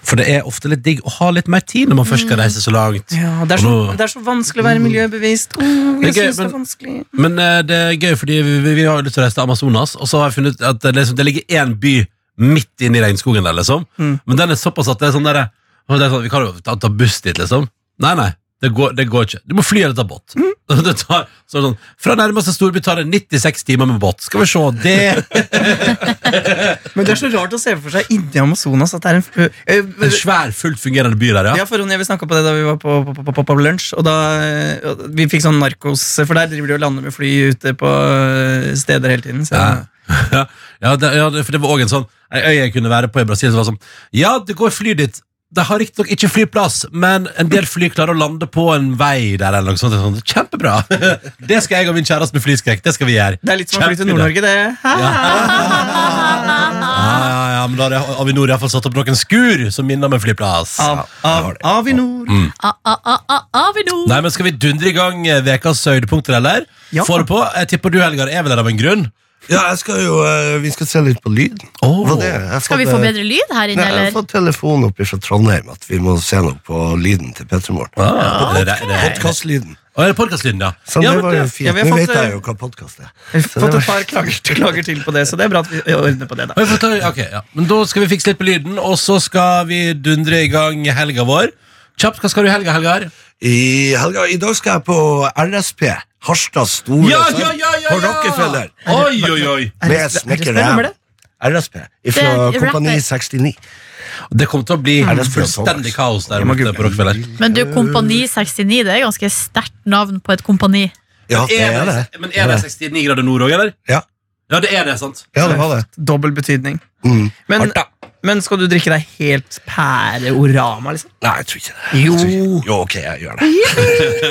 For det er ofte litt digg Å ha litt mer tid når man først Mm. skal reise så langt Ja, det, er så, det er så vanskelig å være miljøbevisst. Oh, Det er jeg gøy, synes det er men- vanskelig. Men eh, det er gøy, fordi vi, vi, vi har jo lyst til å reise til Amazonas, og så har jeg funnet ut at det, liksom, det ligger én by midt inne i regnskogen der, liksom. Mm. Men den er såpass at det er sånn derre og det er sånn, Vi kan jo ta, ta buss dit, liksom. Nei, nei. Det går, det går ikke. Du må fly eller ta båt. Det tar, <laughs> så er det sånn, fra nærmeste storby tar det 96 timer med båt. Skal vi se Det Men det er så rart å se for seg inni Amazonas at det er en f- eh, <laughs> En svær, fullt fungerende by der, ja. Ja, for Ronny, Vi snakka på det da vi var på, på, på, på, på lunsj. Og da eh, Vi fikk sånn narkos For der driver de og lander med fly ute på eh, steder hele tiden. Så. Ja. <laughs> Ja, ja, det, ja det- for det var òg en sånn ei øy jeg kunne være på i Brasil, som var sånn Ja, det går fly dit. De har riktignok ikke flyplass, men en del fly klarer å lande på en vei der. eller noe sånt. Det er Sånn, kjempebra! <laughs> Det skal jeg og min kjæreste med flyskrekk. Det skal vi gjøre. Det er litt som å fly til Kjempebra. Nord-Norge, det. Hæ? Ah, Ja, ja, ja, men da har jeg- Avinor har iallfall satt opp noen skur som minner om en flyplass. Av, av, Avinor. Mm. Ah, ah, ah, ah, Avinor. Nei, men Skal vi dundre i gang eh, vekas høydepunkter, eller? Ja. Får det på? Jeg tipper du, Helgar, er vel der av en grunn? Ja, jeg skal jo, eh, vi skal se litt på lyd. Oh. Hva det? er. Jeg har Skal vi fått, få eh, bedre lyd her Nei, inne, jeg har eller? fått telefon oppe fra Trondheim at vi må se noe på lyden til Petter Morten. Ah, det, det, det, det. Podkastlyden. Å, er det podcastlyden, ja? Så ja, det men var det- jo fint. ja, vi har Nå fått, vet jeg eh, jo hva podkast er. Vi har Så det fått var- et par klager, klager til på det, så det er bra at vi eh, ordner på det. da Men vi får ta- ok, ja. Men da skal vi fikse litt på lyden, og så skal vi dundre i gang helga vår. Kjapt, hva skal du i helga, Helgar? I helga, i dag skal jeg på RSP, Harstads store sang, på Rockefeller, Oi, oi, oi. med RSP, Snekker hvem er Ræm. det? RSP, fra Det er Kompani rapper. 69. Det kommer til å bli Er det fullstendig Snow Dogs? kaos der Jeg må borte google. på Rockefeller. Men du, Kompani 69, det er ganske sterkt navn på et kompani. Ja, det er det. Men er det 69 grader nord òg, eller? Ja. Ja, det er det, sant? Ja, det var det. Dobbel betydning. Mm. Men, Hardt, da. men skal du drikke deg helt pæreorama, liksom? Nei, jeg tror ikke det. Jo. Jeg tror ikke det. Jo, ok, jeg <laughs> gjør det.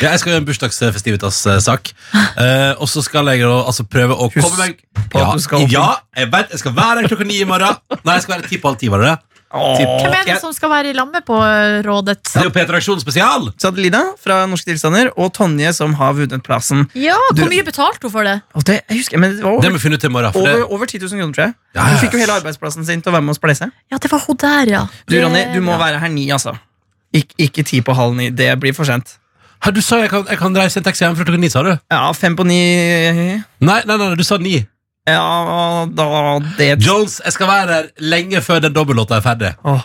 Ja, jeg skal gjøre en bursdagsfestivitas-sak. Eh, og så skal jeg da, altså, prøve å komme meg på at ja, du skal opp- ja, jeg vet, jeg skal være her klokka ni i morgen. Nei, jeg skal være ti på halv ti. var det det? Åh. Hvem er det Jeg- som skal være i lammet på eh, rådet? Det er jo Peter Aksjon spesial! Så hadde Lida fra Norske Tilstander og Tonje som har vunnet plassen. Ja, Du- hvor mye betalte hun for det? Og det, jeg husker, men det var Det må over, vi finne ut i morgen. For over, det, over 10 000 kroner, tror jeg. Ja, ja. Hun fikk jo hele arbeidsplassen sin til å være med og spleise. Ja, det var hun der, ja. Du, Det- Ronny, du må være her ni, altså. Ik ikke ti på halv ni. Det blir for sent. Hæ, du sa jeg kan, jeg kan reise en taxi hjem fra klokka ni, sa du? Ja, fem på ni Nei, nei, nei, du sa ni. Ja, da Det Jones, jeg skal være her lenge før den dobbellåta er ferdig. Åh,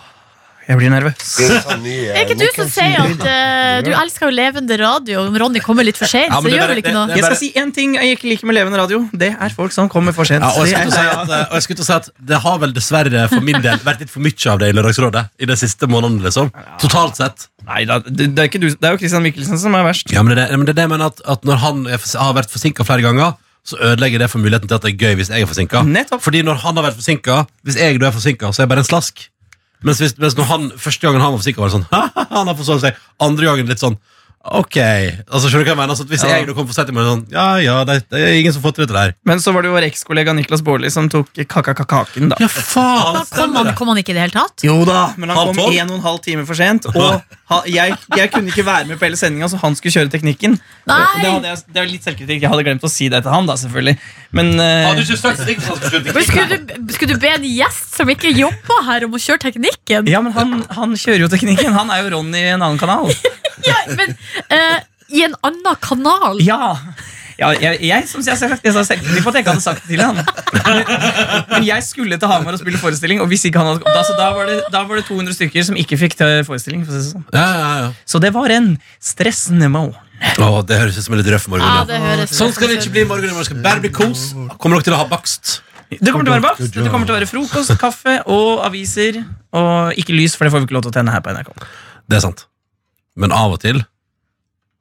jeg blir nervøs. sånn Er ikke du som sier at eh, du elsker jo levende radio? Om Ronny kommer litt for sent, Ja, så men det gjør bare- vel ikke det- noe? det- Jeg skal si én ting jeg ikke liker med levende radio. Det er folk som kommer for sent. Ja, og, jeg Det skulle til å si er- at, eh, og jeg skulle til å si at det har vel dessverre for min del vært litt for mye av det i Lørdagsrådet i de siste månedene. liksom Totalt sett. Nei da, det, det er ikke du, det er jo Christian Michelsen som er verst. Ja, men det, er det- men det er det jeg mener at, at når han er for, har vært forsinka flere ganger, så ødelegger det for muligheten til at det er gøy hvis jeg er forsinka. Nettopp. Fordi når han har vært forsinka, hvis jeg da er forsinka, så er jeg bare en slask. Mens, hvis, mens når han, første gangen han var forsinka, var det sånn <laughs> Han har forsovet seg. Andre gangen litt sånn Ok. Altså, skjønner du hva jeg mener? Altså, at hvis Ja. jeg da kom for sent, var det sånn Ja, ja, det, det er ingen som får til dette der. Men så var det jo vår ekskollega Niklas Baarli som tok kakakakaken, da. Ja, faen! Da kom han, kom han ikke i det hele tatt? Jo da, men han Halv kom tolv? en og en halv time for sent. Og <laughs> ha- jeg, jeg kunne ikke være med på hele sendinga, så han skulle kjøre teknikken. Nei! Det, det, hadde jeg, det er litt selvkritikk. Jeg hadde glemt å si det til han, da, selvfølgelig. Men eh, Hadde du ikke sagt det, så skulle du Men skulle, du, skulle du be en gjest som ikke jobber her, om å kjøre teknikken? ja, men han, han kjører jo teknikken. Han er jo Ronny i en <laughs> annen kanal. Ja, men eh, i en annen kanal? Ja, ja jeg, jeg, som jeg, sa- jeg sa selvkritikk på at jeg ikke hadde sagt det til <laughs> han. Men jeg skulle til Hamar og spille forestilling, og hvis ikke han hadde da, så da, var det, da var det 200 stykker som ikke fikk til forestilling. For å si det sånn. Ja, ja, ja. Så det var en stressende mål. Å, det høres ut som en litt røff morgen. Ja, Ja, det høres Sånn skal det ikke bli i morgen. i morgen skal det bare bli kos. Kommer dere til å ha bakst? Det kommer til å være bakst, det kommer til å være frokost, kaffe og aviser. Og ikke lys, for det får vi ikke lov til å tenne her på NRK. Det er sant. Men av og til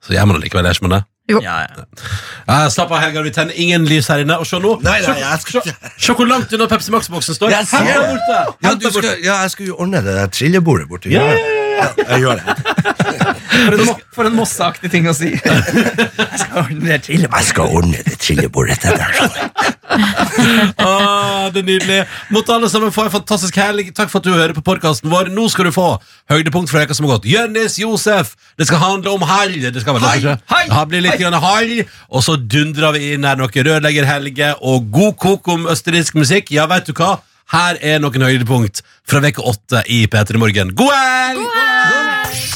så gjør man det likevel. Gjør man det? Ja, ja. Eh, slapp av, Helga. Vi tenner ingen lys her inne. Og se nå. Nei, nei, jeg skal ikke Se hvor langt unna Pepsi Max-boksen står. Jeg ser Hent den det. borte. ja, Hent du den skal, borte. ja, jeg skulle jo ordne det der trillebordet borti Ja, ja, Jeg gjør det. For en, mo- for en mosseaktig ting å si. Jeg <laughs> skal ordne det til. Jeg skal ordne det trillebordet til deg. skjønner du. Ah, det er nydelig. Måtte alle sammen få en fantastisk helg. Takk for at du hører på podkasten vår. Nå skal du få høydepunkt fra veka som har gått. Jønnis Josef. Det skal handle om helg. Det skal vel det, kanskje? Hei, hei, Det blir litt grann helg. Og så dundrer vi inn her noe rørleggerhelge og god kok om østerriksk musikk. Ja, vet du hva? Her er noen høydepunkt fra veke åtte i P3 Morgen. God helg!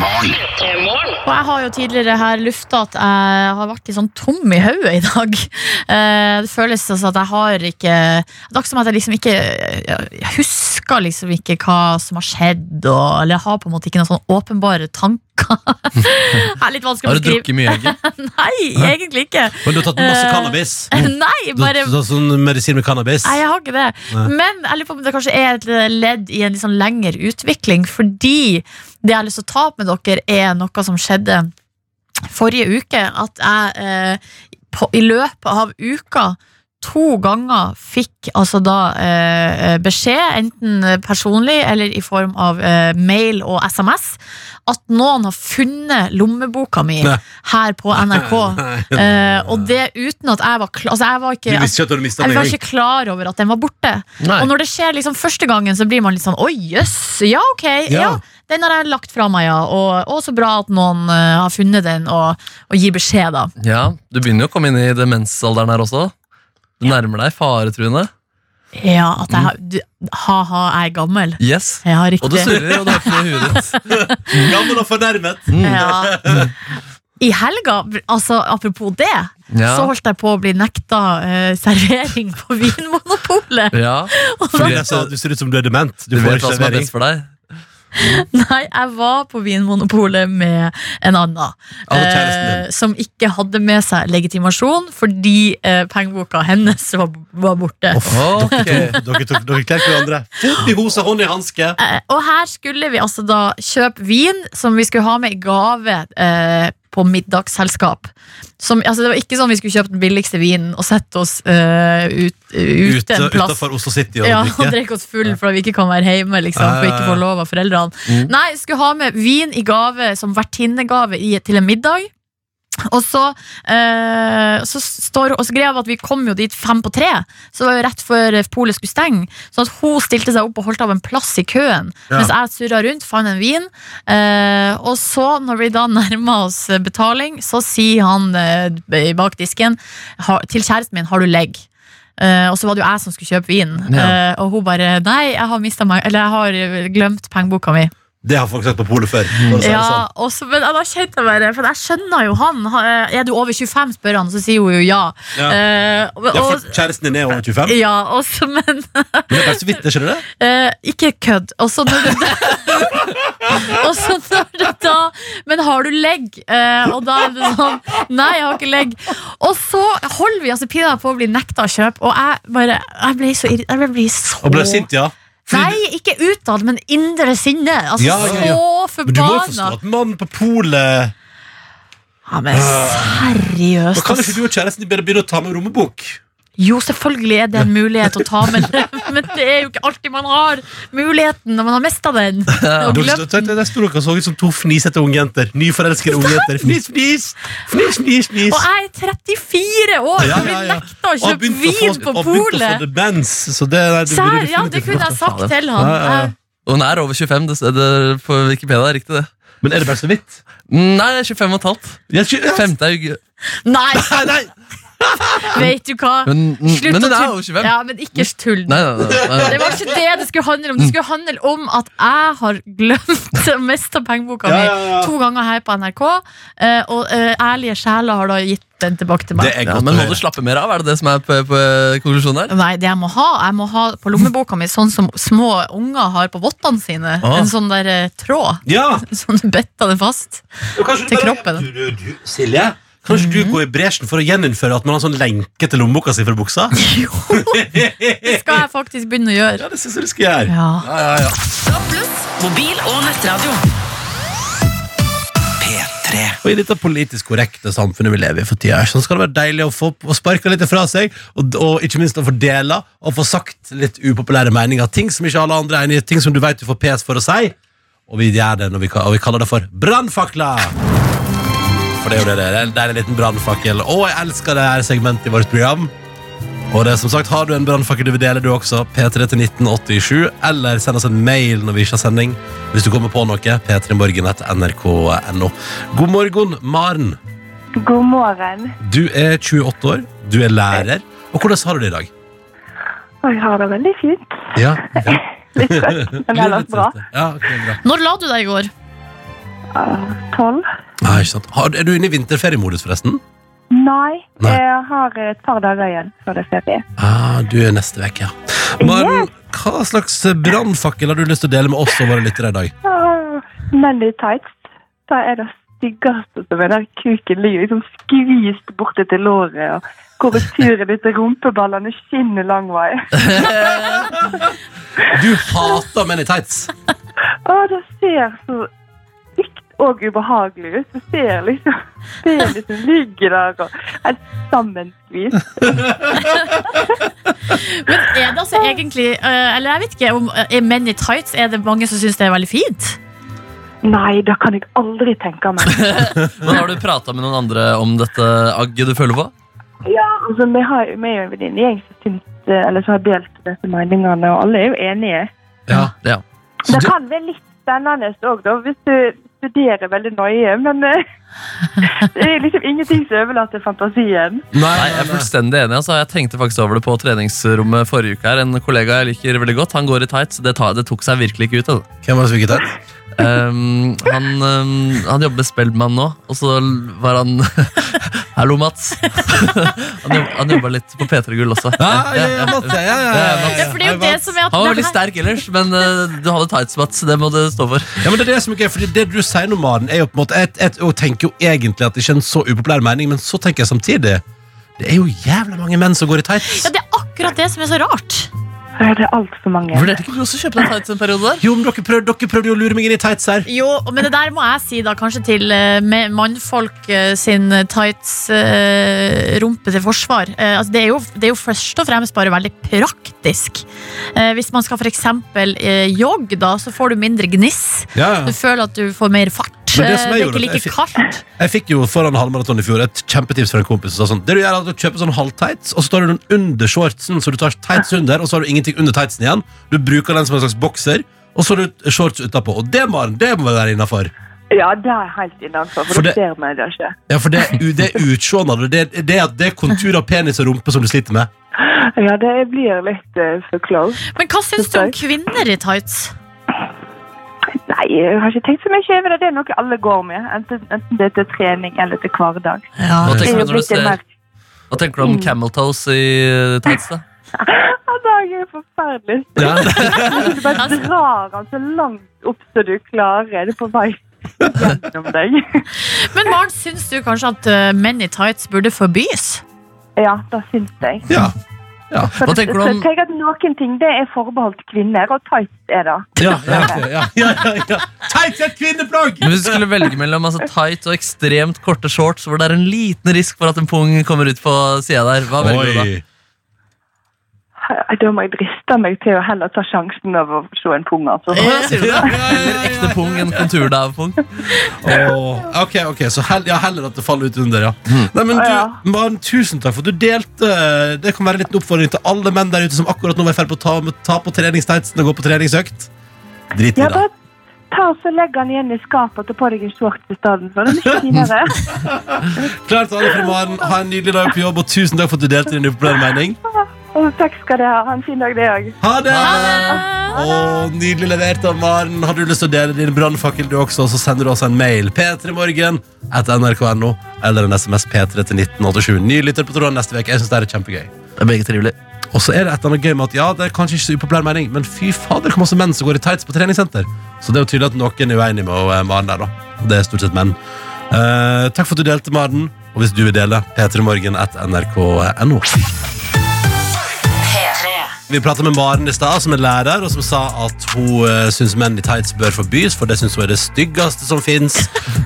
Og jeg har jo tidligere her lufta at jeg har vært litt sånn tom i hodet i dag. <laughs> Eh, Det føles altså at jeg har ikke Det er ikke som at jeg liksom ikke Jeg husker liksom ikke hva som har skjedd, og, eller jeg har på en måte ikke noen sånn åpenbare tanker. <laughs> det er litt vanskelig å Har du beskrive. drukket mye egg? <laughs> Nei, egentlig ikke. <laughs> Men du har tatt masse Eh, cannabis. Nei, Du har <laughs> bare du har tatt sånn medisin med cannabis. Nei, jeg har ikke det. Nei. Men jeg lurer på om det kanskje er et ledd i en litt sånn lengre utvikling, fordi det jeg har lyst til å ta opp med dere, er noe som skjedde forrige uke. At jeg eh, på, i løpet av uka to ganger fikk altså da eh, beskjed, enten personlig eller i form av eh, mail og SMS, at noen har funnet lommeboka mi Nei. her <laughs> på NRK. Nei. Eh, og det uten at jeg var klar Altså, jeg var Du ikke visste ikke at du mistet jeg den var engang. ikke klar over at den var borte. Nei. Og når det skjer liksom første gangen, så blir man litt sånn Oi, jøss. Ja, ok. Ja. Ja. Den har jeg lagt fra meg, ja. Og, og så bra at noen eh, har funnet den og, og gir beskjed, da. Ja, du begynner jo å komme inn i demensalderen her også. Du nærmer deg faretruende. Ja, at jeg har du- Ha-ha, jeg er gammel. Yes. Ja, riktig. Og du surrer, og du har ikke noe i huet ditt. <laughs> Gammel og fornærmet. Ja. I helga, altså apropos det, Ja. så holdt jeg på å bli nekta eh, servering på <laughs> Vinmonopolet. Ja, Og da Fordi Fordi jeg sa at du ser ut som du er dement. du Du får vet hva som ikke er servering. best for deg. <laughs> Nei, jeg var på Vinmonopolet med en annen. Alle kjæresten eh, som ikke hadde med seg legitimasjon fordi eh, pengeboka hennes var, var borte. Ok. <laughs> Dere, tok, dere kledde hverandre. Fot i hose, hånd i hanske. Eh, og her skulle vi altså da kjøpe vin som vi skulle ha med i gave. Eh, på middagsselskap. Som, altså det var ikke sånn vi skulle kjøpe den billigste vinen og sette oss eh, ut, ute en plass. Utafor Oslo City. Og Ja, <laughs> drikke. og drikke oss full for at vi ikke kan være hjemme liksom, For ikke få lov av foreldrene Nei, skulle ha med vin i gave Som vertinnegave i, til en middag og så, eh, så, står, og så greia var at vi kom jo dit fem på tre Så det var jo rett før polet skulle stenge Sånn at hun stilte seg opp og holdt av en plass i køen Ja. Mens jeg surret rundt, fant en vin eh, Og så når vi da <laughs> nærmer oss betaling Så sier han eh, bak disken «Ha- Til kjæresten min, har du legg? Eh, og så var det jo jeg som skulle kjøpe vin. Ja. Eh, og hun bare Nei, jeg har, mistet meg, eller, jeg har eh, glemt pengeboka mi. Det har folk sett på polet før. for å si det Ja, sånn. og så, men da kjente jeg bare For jeg skjønner jo han. han, eh, Er du over 25, spør han, så sier hun jo ja. Ja. Eh, og, Ja, for og, kjæresten din er over 25. ja, og så, men Men det er bare så vidt, skjønner du det? Eh, ikke kødd. Og så når det da, <laughs> og så når det da Men har du legg? Eh, og da er det sånn Nei, jeg har ikke legg. Og så holder vi altså pinadø på å bli nekta å kjøpe, og jeg bare Jeg ble så irri- Jeg ble så Og ble sint, ja. Nei, ikke utad, men indre sinne. Altså Ja, ja, ja. så Men du må jo forstå forbanna. at mannen på polet Ja, men Da seriøst. kan ikke ass. du og kjæresten din bare begynne å ta med rommebok? Jo, selvfølgelig er det en mulighet å ta med det, men <laughs> det er jo ikke alltid man har muligheten når man har mista <laughs> den. Og Dere glemt stod- tenkte jeg, Der sto dere og så ut som to fnisete ungjenter. Nyforelskede ungjenter. Fnis, fnis! Fnis, fnis, fnis. Og jeg er 34 år og Ja, ja, blir ja. nekta å Og har kjøpe begynt å vin få- på og har begynt å få polet! demens, så det, nei, det burde Sær, ja, det definitivt kunne jeg sagt til han. Ja, ja, ja. Jeg- Og Hun er over 25, det, det, på Wikipedia er riktig det. Men er det bare så vidt? Nei, 25 og et halvt. Jeg, 5. august. Nei! Nei, nei! <laughs> Vet du hva? Men, Slutt men å hun er jo tulle. 25. Ja, men ikke tull. Nei, nei, nei, nei. Det var ikke det det skulle handle om. Det skulle handle om at jeg har glemt å miste pengeboka Ja, mi ja, ja. to ganger her på NRK, eh, og eh, ærlige sjeler har da gitt den tilbake til Det meg. er Ja, godt men å må du høre. slappe mer av? Er det det som er på, på konklusjonen her? Nei, det jeg må ha, jeg må ha på lommeboka mi sånn som små unger har på vottene sine. Ah. En sånn der eh, tråd. Ja! Sånn du bøtter det fast. Og kanskje du Til bare- kroppen. Mhm. Du, du, du, Silje? Kanskje du går i bresjen for å gjeninnføre at man har sånn lenke til lommeboka si fra buksa? <laughs> Jo, det skal jeg faktisk begynne å gjøre. Ja, det syns jeg du skal gjøre. Ja. Mobil og nettradio. Og i dette politisk korrekte samfunnet vi lever i for tida, så skal det være deilig å få å sparke litt fra seg, og, og ikke minst å få dela og få sagt litt upopulære meninger. Ting som ikke alle andre er enig i, ting som du vet du får pes for å si. Og vi gjør det når vi, ka- og vi kaller det for brannfakler. For det er jo det det er. Det er en liten brannfakkel. Og jeg elsker det her segmentet i vårt program. Og det er som sagt, Har du en brannfakkel du vil dele, du også, P3 til 1987, eller send oss en mail når vi ikke har sending. Hvis du kommer på noe, p3morgen.nrk.no. God morgen, Maren. God morgen. Du er 28 år, du er lærer. Og hvordan har du det i dag? Og jeg har det veldig fint. Ja, ja. <laughs> Litt trøtt, men ellers bra. Ja, ok, bra. Når la du deg i går? Tolv. Nei, ikke sant. Har, er du inne i vinterferiemodus, forresten? Nei, Nei. jeg har et par dager igjen før det er ferie. Ah, du er neste vekk, ja. Maren, hva slags brannfakkel har du lyst til å dele med oss og våre lyttere i dag? Åh, Men i tights, det er det styggeste som er der kuken ligger liksom skvist borte til låret, og korrekturen ditt til rumpeballene skinner lang <laughs> vei. Du hater menn i tights. <laughs> Åh, det ser så stygt og ubehagelig ut. Det ser liksom, ser liksom ligger der og er sammenskvist. <laughs> Men er det altså egentlig eh, Eller jeg vet ikke om eh, er menn i tights Er det mange som syns det er veldig fint? Nei, det kan jeg aldri tenke meg. Men Har du prata med noen andre om dette agget du føler på? Ja, altså, vi har jo vi er jo en venninnegjeng som syns eh, Eller som har delt disse meningene, og alle er jo enige. Ja. Ja. Så det du- kan være litt spennende òg, da, hvis du studerer veldig nøye, men eh, <laughs> det er liksom ingenting som overlater fantasien. Nei, jeg er fullstendig enig. Altså. Jeg tenkte faktisk over det på treningsrommet forrige uke. her En kollega jeg liker veldig godt, han går i tights. Det, ta, det tok seg virkelig ikke ut. Altså. Hvem var det som gikk i tights? Um, han, um, han jobber med Spellemann nå, og så var han <laughs> Hallo, Mats. <laughs> han jobb, han jobba litt på P3 Gull også. Ja, Ah, ja, ja, Mats, ja, ja, ja, ja, ja. Ja, for det er jo det som er at Han det var veldig her- sterk ellers, men eh, du hadde tights, Mats. Det må du stå for. Ja, men Det er det som er gøy, fordi det du sier nå, Maren, er jo på en måte Jeg, jeg, jeg tenker jo egentlig at det ikke er en så upopulær mening, men så tenker jeg samtidig Det er jo jævla mange menn som går i tights. Ja, det er akkurat det som er så rart. Så er det altfor mange. Vurderte ikke du også å kjøpe deg tights en periode der? Jo, men dere prøvde, dere prøvde jo å lure meg inn i tights her. Jo, men det der må jeg si da kanskje til eh, med mannfolk eh, sin tights-rumpe til forsvar. Eh, altså, det, er jo, det er jo først og fremst bare veldig praktisk. Eh, hvis man skal f.eks. Eh, jogge, da, så får du mindre gniss. Ja, Du føler at du får mer fart. Men det Eh, som jeg det er gjorde, ikke jeg like kaldt. Jeg fikk jo foran halvmaraton i fjor et kjempetips fra en kompis som sa sånn Det du gjør, er at du kjøper sånn halvtights, og så tar du den under shortsen, så du tar tights under, og så har du ingenting under tightsen igjen. Du bruker den som en slags bokser, og så har du shorts utapå. Og det, Maren, det må være innafor. Ja, det er helt innenfor, for, For det- det ser vi det ikke. Ja, for det, det er utseendet, det, det, er at det er kontur av penis og rumpe som du sliter med. Ja, det blir litt eh, for close. Men hva syns du om kvinner i tights? Nei, jeg har ikke tenkt så mye over det. Det er noe alle går med, enten, enten det er til trening eller til hverdag. Hva Det er tenker du jo når du blitt en ser mer Hva tenker du om camel toes i eh, tights? da? Ja, det er jo forferdelig. Ja. <laughs> Du bare drar han så langt opp som du klarer. Det er på vei gjennom deg. <laughs> Men Maren, syns du kanskje at eh, menn i tights burde forbys? Ja, det syns jeg. Ja. For Hva tenker du om- så tenk at Noen ting det er forbeholdt kvinner, og tights er det. Ja, ja, ja, ja, ja, ja. Tights er et kvinneplagg! Men Hvis du skulle velge mellom altså, tight og ekstremt korte shorts, hvor det er en liten risk for at en pung kommer ut på sida der, hva velger du da? Oi. Da må jeg driste meg til å heller ta sjansen av å se en pung. Altså. Eh. Eller ekte pung, en kontur av pung? Åh, ok, ok, så hell, ja, heller at det faller ut under, ja. Nei, men Ja. du, Maren, tusen takk for at du delte. Det kan være en liten oppfordring til alle menn der ute som akkurat nå er i ferd med å ta, med, ta på treningstightsen og gå på treningsøkt. Drit i Ja, det. bare Ta og så Legg den igjen i skapet og ta på deg en shorts i stedet. for. Den er <laughs> finere. Klart alle fra morgen. Ha en nydelig dag på jobb, og tusen takk for at du delte din upopulære mening. Og takk skal dere ha. Ha en fin dag, det òg. Ha det! Og nydelig levert av Maren. Har du lyst til å dele din brannfakkel, du også, så sender du oss en mail. P3morgen etter nrk.no eller en SMS P3 til 1987. Ny lytter på tråden neste uke. Jeg synes det er kjempegøy. Det er begge trivelig. Og så er det et eller annet gøy med at ja, det er kanskje ikke så upopulær mening, men fy fader, hvor masse menn som går i tights på treningssenter. Så det er jo tydelig at noen er uenig med eh, Maren der, da. Og Det er stort sett menn. Eh, takk for at du delte, Maren. Og hvis du vil dele, p3morgen at nrk.no. Vi prata med Maren i stad, som er lærer, og som sa at hun uh, syns menn i tights bør forbys, for det syns hun er det styggeste som fins.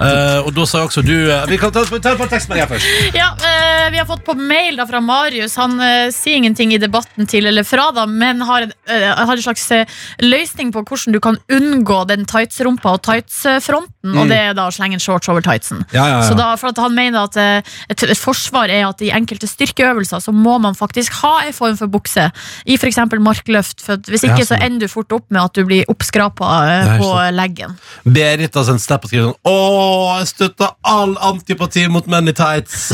og da sa også du eh, Vi kan ta, ta et par tekstmeldinger først. Ja, eh, Vi har fått på mail da fra Marius. Han eh, sier ingenting i debatten til eller fra, da, men har en, eh, har en slags eh, løsning på hvordan du kan unngå den tightsrumpa og tightsfronten. Og det er da å slenge en shorts over tightsen. Mm. Ja, ja, ja. Så da, for at Han mener at eh, et, et forsvar er at i enkelte styrkeøvelser så må man faktisk ha en form for bukse. I f.eks. markløft. For at hvis Ja, ikke så sånn. ender du fort opp med at du blir oppskrapa eh, Nei, på sant. eh, leggen. Berit har sendt snap og skriver sånn Åh, jeg støtter all antipati mot menn i tights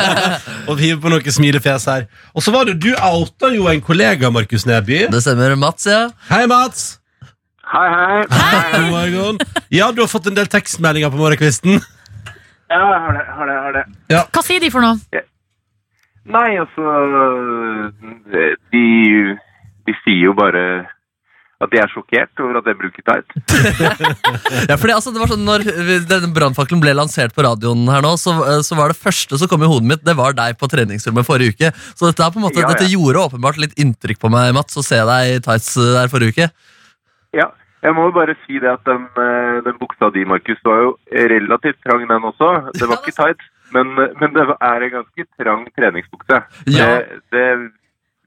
<laughs> Og hiver på noen smilefjes her Og så var det, du outa jo en kollega, Markus Neby Det stemmer. Mats, ja. Hei Mats Hei, hei. God morgen Ja, du har fått en del tekstmeldinger på morgenkvisten Ja, jeg har det, jeg har det, jeg har det. Hva sier de for noe? Nei, altså De, de sier jo bare at de er sjokkert over at jeg bruker tight. ja fordi, altså, det var sånn, når vi- denne brannfakkelen ble lansert på radioen her nå, så, eh, så var det første som kom i hodet mitt, det var deg på treningsrommet forrige uke. Så dette, er på en måte, Ja, ja. dette gjorde åpenbart litt inntrykk på meg, Mats, å se deg i tights eh, der forrige uke. Ja, jeg må jo bare si det at den, eh, den buksa di, Markus, var jo relativt trang den også. Det var ikke tight, men, men det er en ganske trang treningsbukse. Ja. Det, det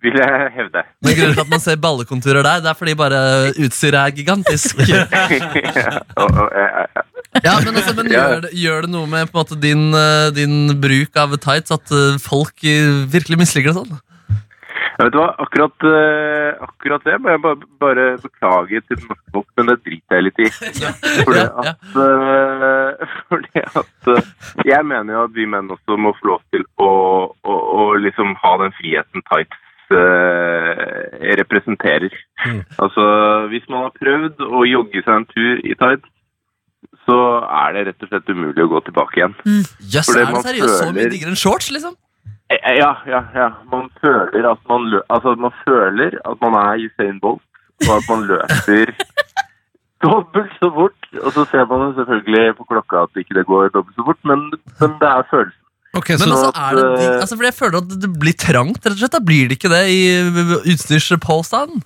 vil jeg hevde. <laughs> Men grunnen til at man ser ballekonturer der, det er fordi bare utstyret er gigantisk. Og- og eh, jeg- jeg- Ja, men, altså, men Ja. gjør, det, gjør det noe med på en måte, din, eh, din bruk av tights at eh, folk eh, virkelig misliker det sånn? Jeg vet du hva, akkurat, eh, akkurat det må jeg bare, bare beklage til norsk folk, men det driter jeg litt i. Fordi <laughs> Ja, ja. at, eh, <laughs> fordi at eh, jeg mener jo at vi menn også må få lov til å, å, å liksom ha den friheten tights eh, representerer. Mm. Altså, hvis man har prøvd å jogge seg en tur i tights, så er det rett og slett umulig å gå tilbake igjen. Jøss, Fordi er det man seriøst så mye føler- diggere enn shorts, liksom? Eh, Ja, ja, ja. Man føler at man, lø altså, at man, føler at man er Usain Bolt, og at man løper <laughs> dobbelt så fort. Og så ser man jo selvfølgelig på klokka at ikke det går dobbelt så fort, men, men det er følelsen. Ok, Men så altså, at, er det digg? eh, Altså, fordi jeg føler at det blir trangt, rett og slett. Da blir det ikke det i eh, utstyrspåstanden.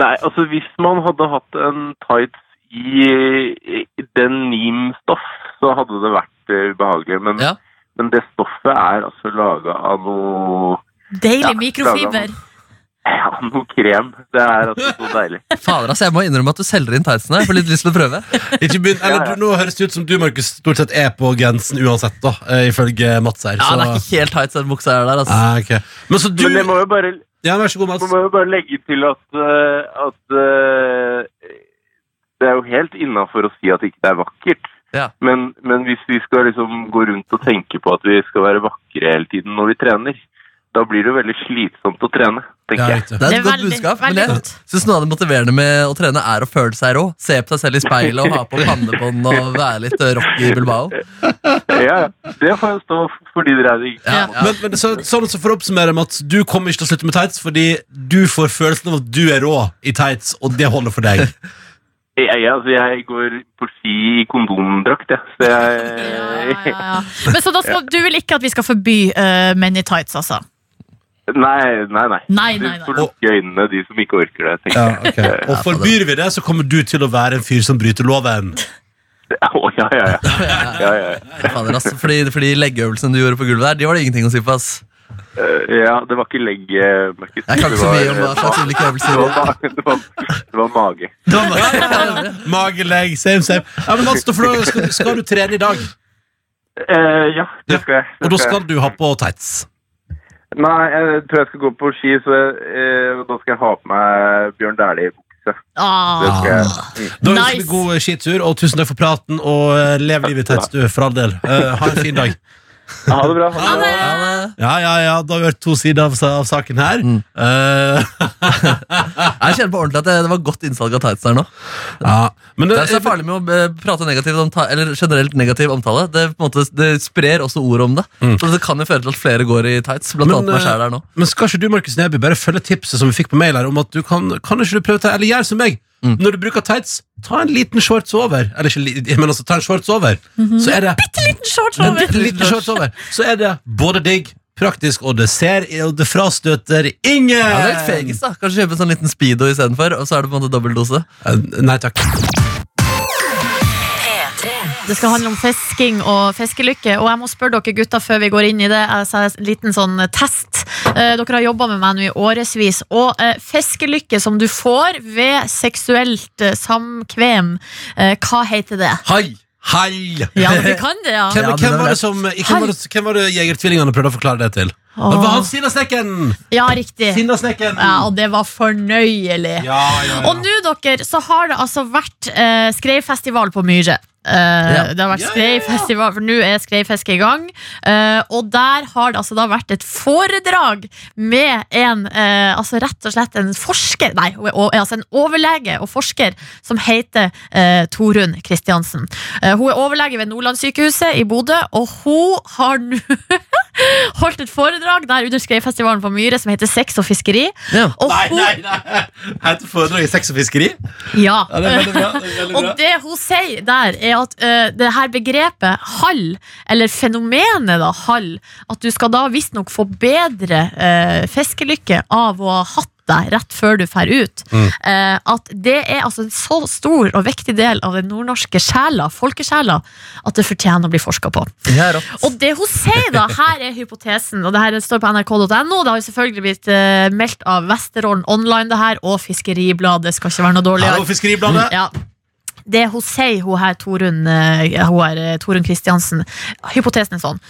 Nei, altså hvis man hadde hatt en tights i, i denim-stoff, så hadde det vært eh, ubehagelig. Men, Ja. men det stoffet er altså laga av noe, <laughs> Deilig Ja, mikrofiber. lager ja, noe krem. Det er altså så deilig. Fader, altså, jeg må innrømme at du selger inn tightsene. Jeg får litt lyst til å <laughs> prøve. Ikke begynn, eller, du, nå høres det ut som du, Markus, stort sett er på grensen uansett da eh, Ifølge Mats her Ja, så. det er ikke helt tights den buksa er der, altså. Ah, ok. Men så du, Men jeg må jo bare ja, vær så god Mats Man må jo bare legge til at, eh, at eh, det er jo helt innafor å si at ikke det er vakkert. Ja. Men, men hvis vi skal liksom gå rundt og tenke på at vi skal være vakre hele tiden når vi trener, da blir det jo veldig slitsomt å trene, ja, tenker jeg. riktig. Det er Det et er godt veldig- budskap, men veldig jeg godt. synes noe av det motiverende med å trene er å føle seg rå. Se på deg selv i speilet og ha på pannebånd og være litt eh, rock i <laughs> Bilbao. Ja, ja. det får jo stå f- for din regning. Ja, ja. Men, men så, sånn som for å oppsummere, Mats, du kommer ikke til å slutte med tights fordi du får følelsen av at du er rå i tights, og det holder for deg. Jeg, jeg, altså, jeg går på ski i kondomdrakt, jeg. Så jeg <laughs> ja, ja. Men så da skal, du vil ikke at vi skal forby eh, menn i tights, altså? Nei, nei, nei. Nei, Du nei, nei. får lukke øynene, de som ikke orker det. tenker jeg. <laughs> Og forbyr vi det, så kommer du til å være en fyr som bryter loven. Å, ja, ja, ja. ja, ja, ja. Fader, altså, fordi, fordi leggeøvelsene du gjorde på gulvet der, de var det ingenting å si på, ass. Eh, ja, det var ikke legg, eh, Markus. Jeg kan Det ikke så var, mye om hva eh, slags ulike <laughs> øvelser det det var, var. ma- det var, det var mage. Sånn. Magelegg, same, same. Ja, men Mats, da får du- skal, skal du trene i dag, Eh, ja, det skal jeg. det og da skal jeg. skal du ha på tights. Nei, jeg tror jeg skal gå på ski, så eh, da skal jeg ha på meg Bjørn Dæhlie-bukse masse. Det Ah, skal jeg. Da ønsker Nice. vi god eh, skitur, og tusen takk for praten, og eh, lev livet tett, du, for all del. Eh, ha en fin dag. Ha det bra. ha det! Ja, det- Ja, ja, ja, da har vi hørt to sider av, sa- av saken her. Mm. Eh, <laughs> Jeg kjenner på ordentlig at det, det var godt innsalg av tights der nå. ja, men Det det, er så farlig med å eh, prate negativt om ta eller generelt negativ omtale. Det, på en måte, det sprer også ord om det. Mm. Så det kan jo føre til at flere går i tights. Blant Men, annet meg eh, selv her nå men skal ikke du, Markus Neby, bare følge tipset som vi fikk på mail her, om at du kan, kan ikke du prøve til, eller gjør som meg, Mm. når du bruker tights, ta en liten shorts over, eller ikke, li- <laughs> men altså, ta en shorts over, så er det Shorts en Mhm. over. liten shorts over, så er det både digg, praktisk, og det ser, og det frastøter ingen! ja, det er litt fegest, da. Kanskje kjøpe en sånn liten Speedo istedenfor, og så er det på en måte dobbeldose. Eh, Nei, takk. Det skal handle om fisking og fiskelykke. Og jeg må spørre dere gutter før vi går inn i det. Altså, en liten sånn test. Eh, Dere har jobba med meg nå i årevis. Og eh, fiskelykke som du får ved seksuelt eh, samkvem, eh, hva heter det? Hei! Hei! Ja, du kan det, ja. Hvem, Ja, men hvem, det var var det som, hvem, var det, hvem var det Jegertvillingene prøvde å forklare det til? Det var han Åh. Sinnasnekken! Ja, riktig. Sinnasnekken! Ja, og det var fornøyelig. Ja, ja, ja. Og nå, dere, så har det altså vært eh, skreifestival på Myre. Eh, Det har vært Ja, ja, ja. skreifestival, for nå er skreifisket i gang. Eh, og der har det altså da vært et foredrag med en eh, Altså rett og slett en forsker Nei, o- o- altså en overlege og forsker som heter eh, Torunn Kristiansen. Eh, hun er overlege ved Nordlandssykehuset i Bodø, og hun har nå <laughs> holdt et foredrag der under skreifestivalen på Myre som heter Sex og fiskeri. Ja. Og Nei, hun, nei, nei! Heter foredrag i sex og fiskeri? Ja. Ja, det er veldig bra. Det er veldig Og bra. det hun sier der, er at eh, det her begrepet hall, eller fenomenet da, hall, at du skal da visstnok få bedre eh, fiskelykke av å ha hatt deg rett før du fer ut. Mm. Eh, at det er altså en så stor og viktig del av den nordnorske sjela, folkesjela, at det fortjener å bli forska på. Det er rått. Og det hun sier da, her er hypotesen, og det her står på nrk.no. Det har jo selvfølgelig blitt eh, meldt av Vesterålen Online, det her, og Fiskeribladet. Skal ikke være noe dårligere. Hallo, Fiskeribladet! Ja. Det hun sier, hun her, Torunn eh, hun her, eh, Torunn Kristiansen, hypotesen er sånn.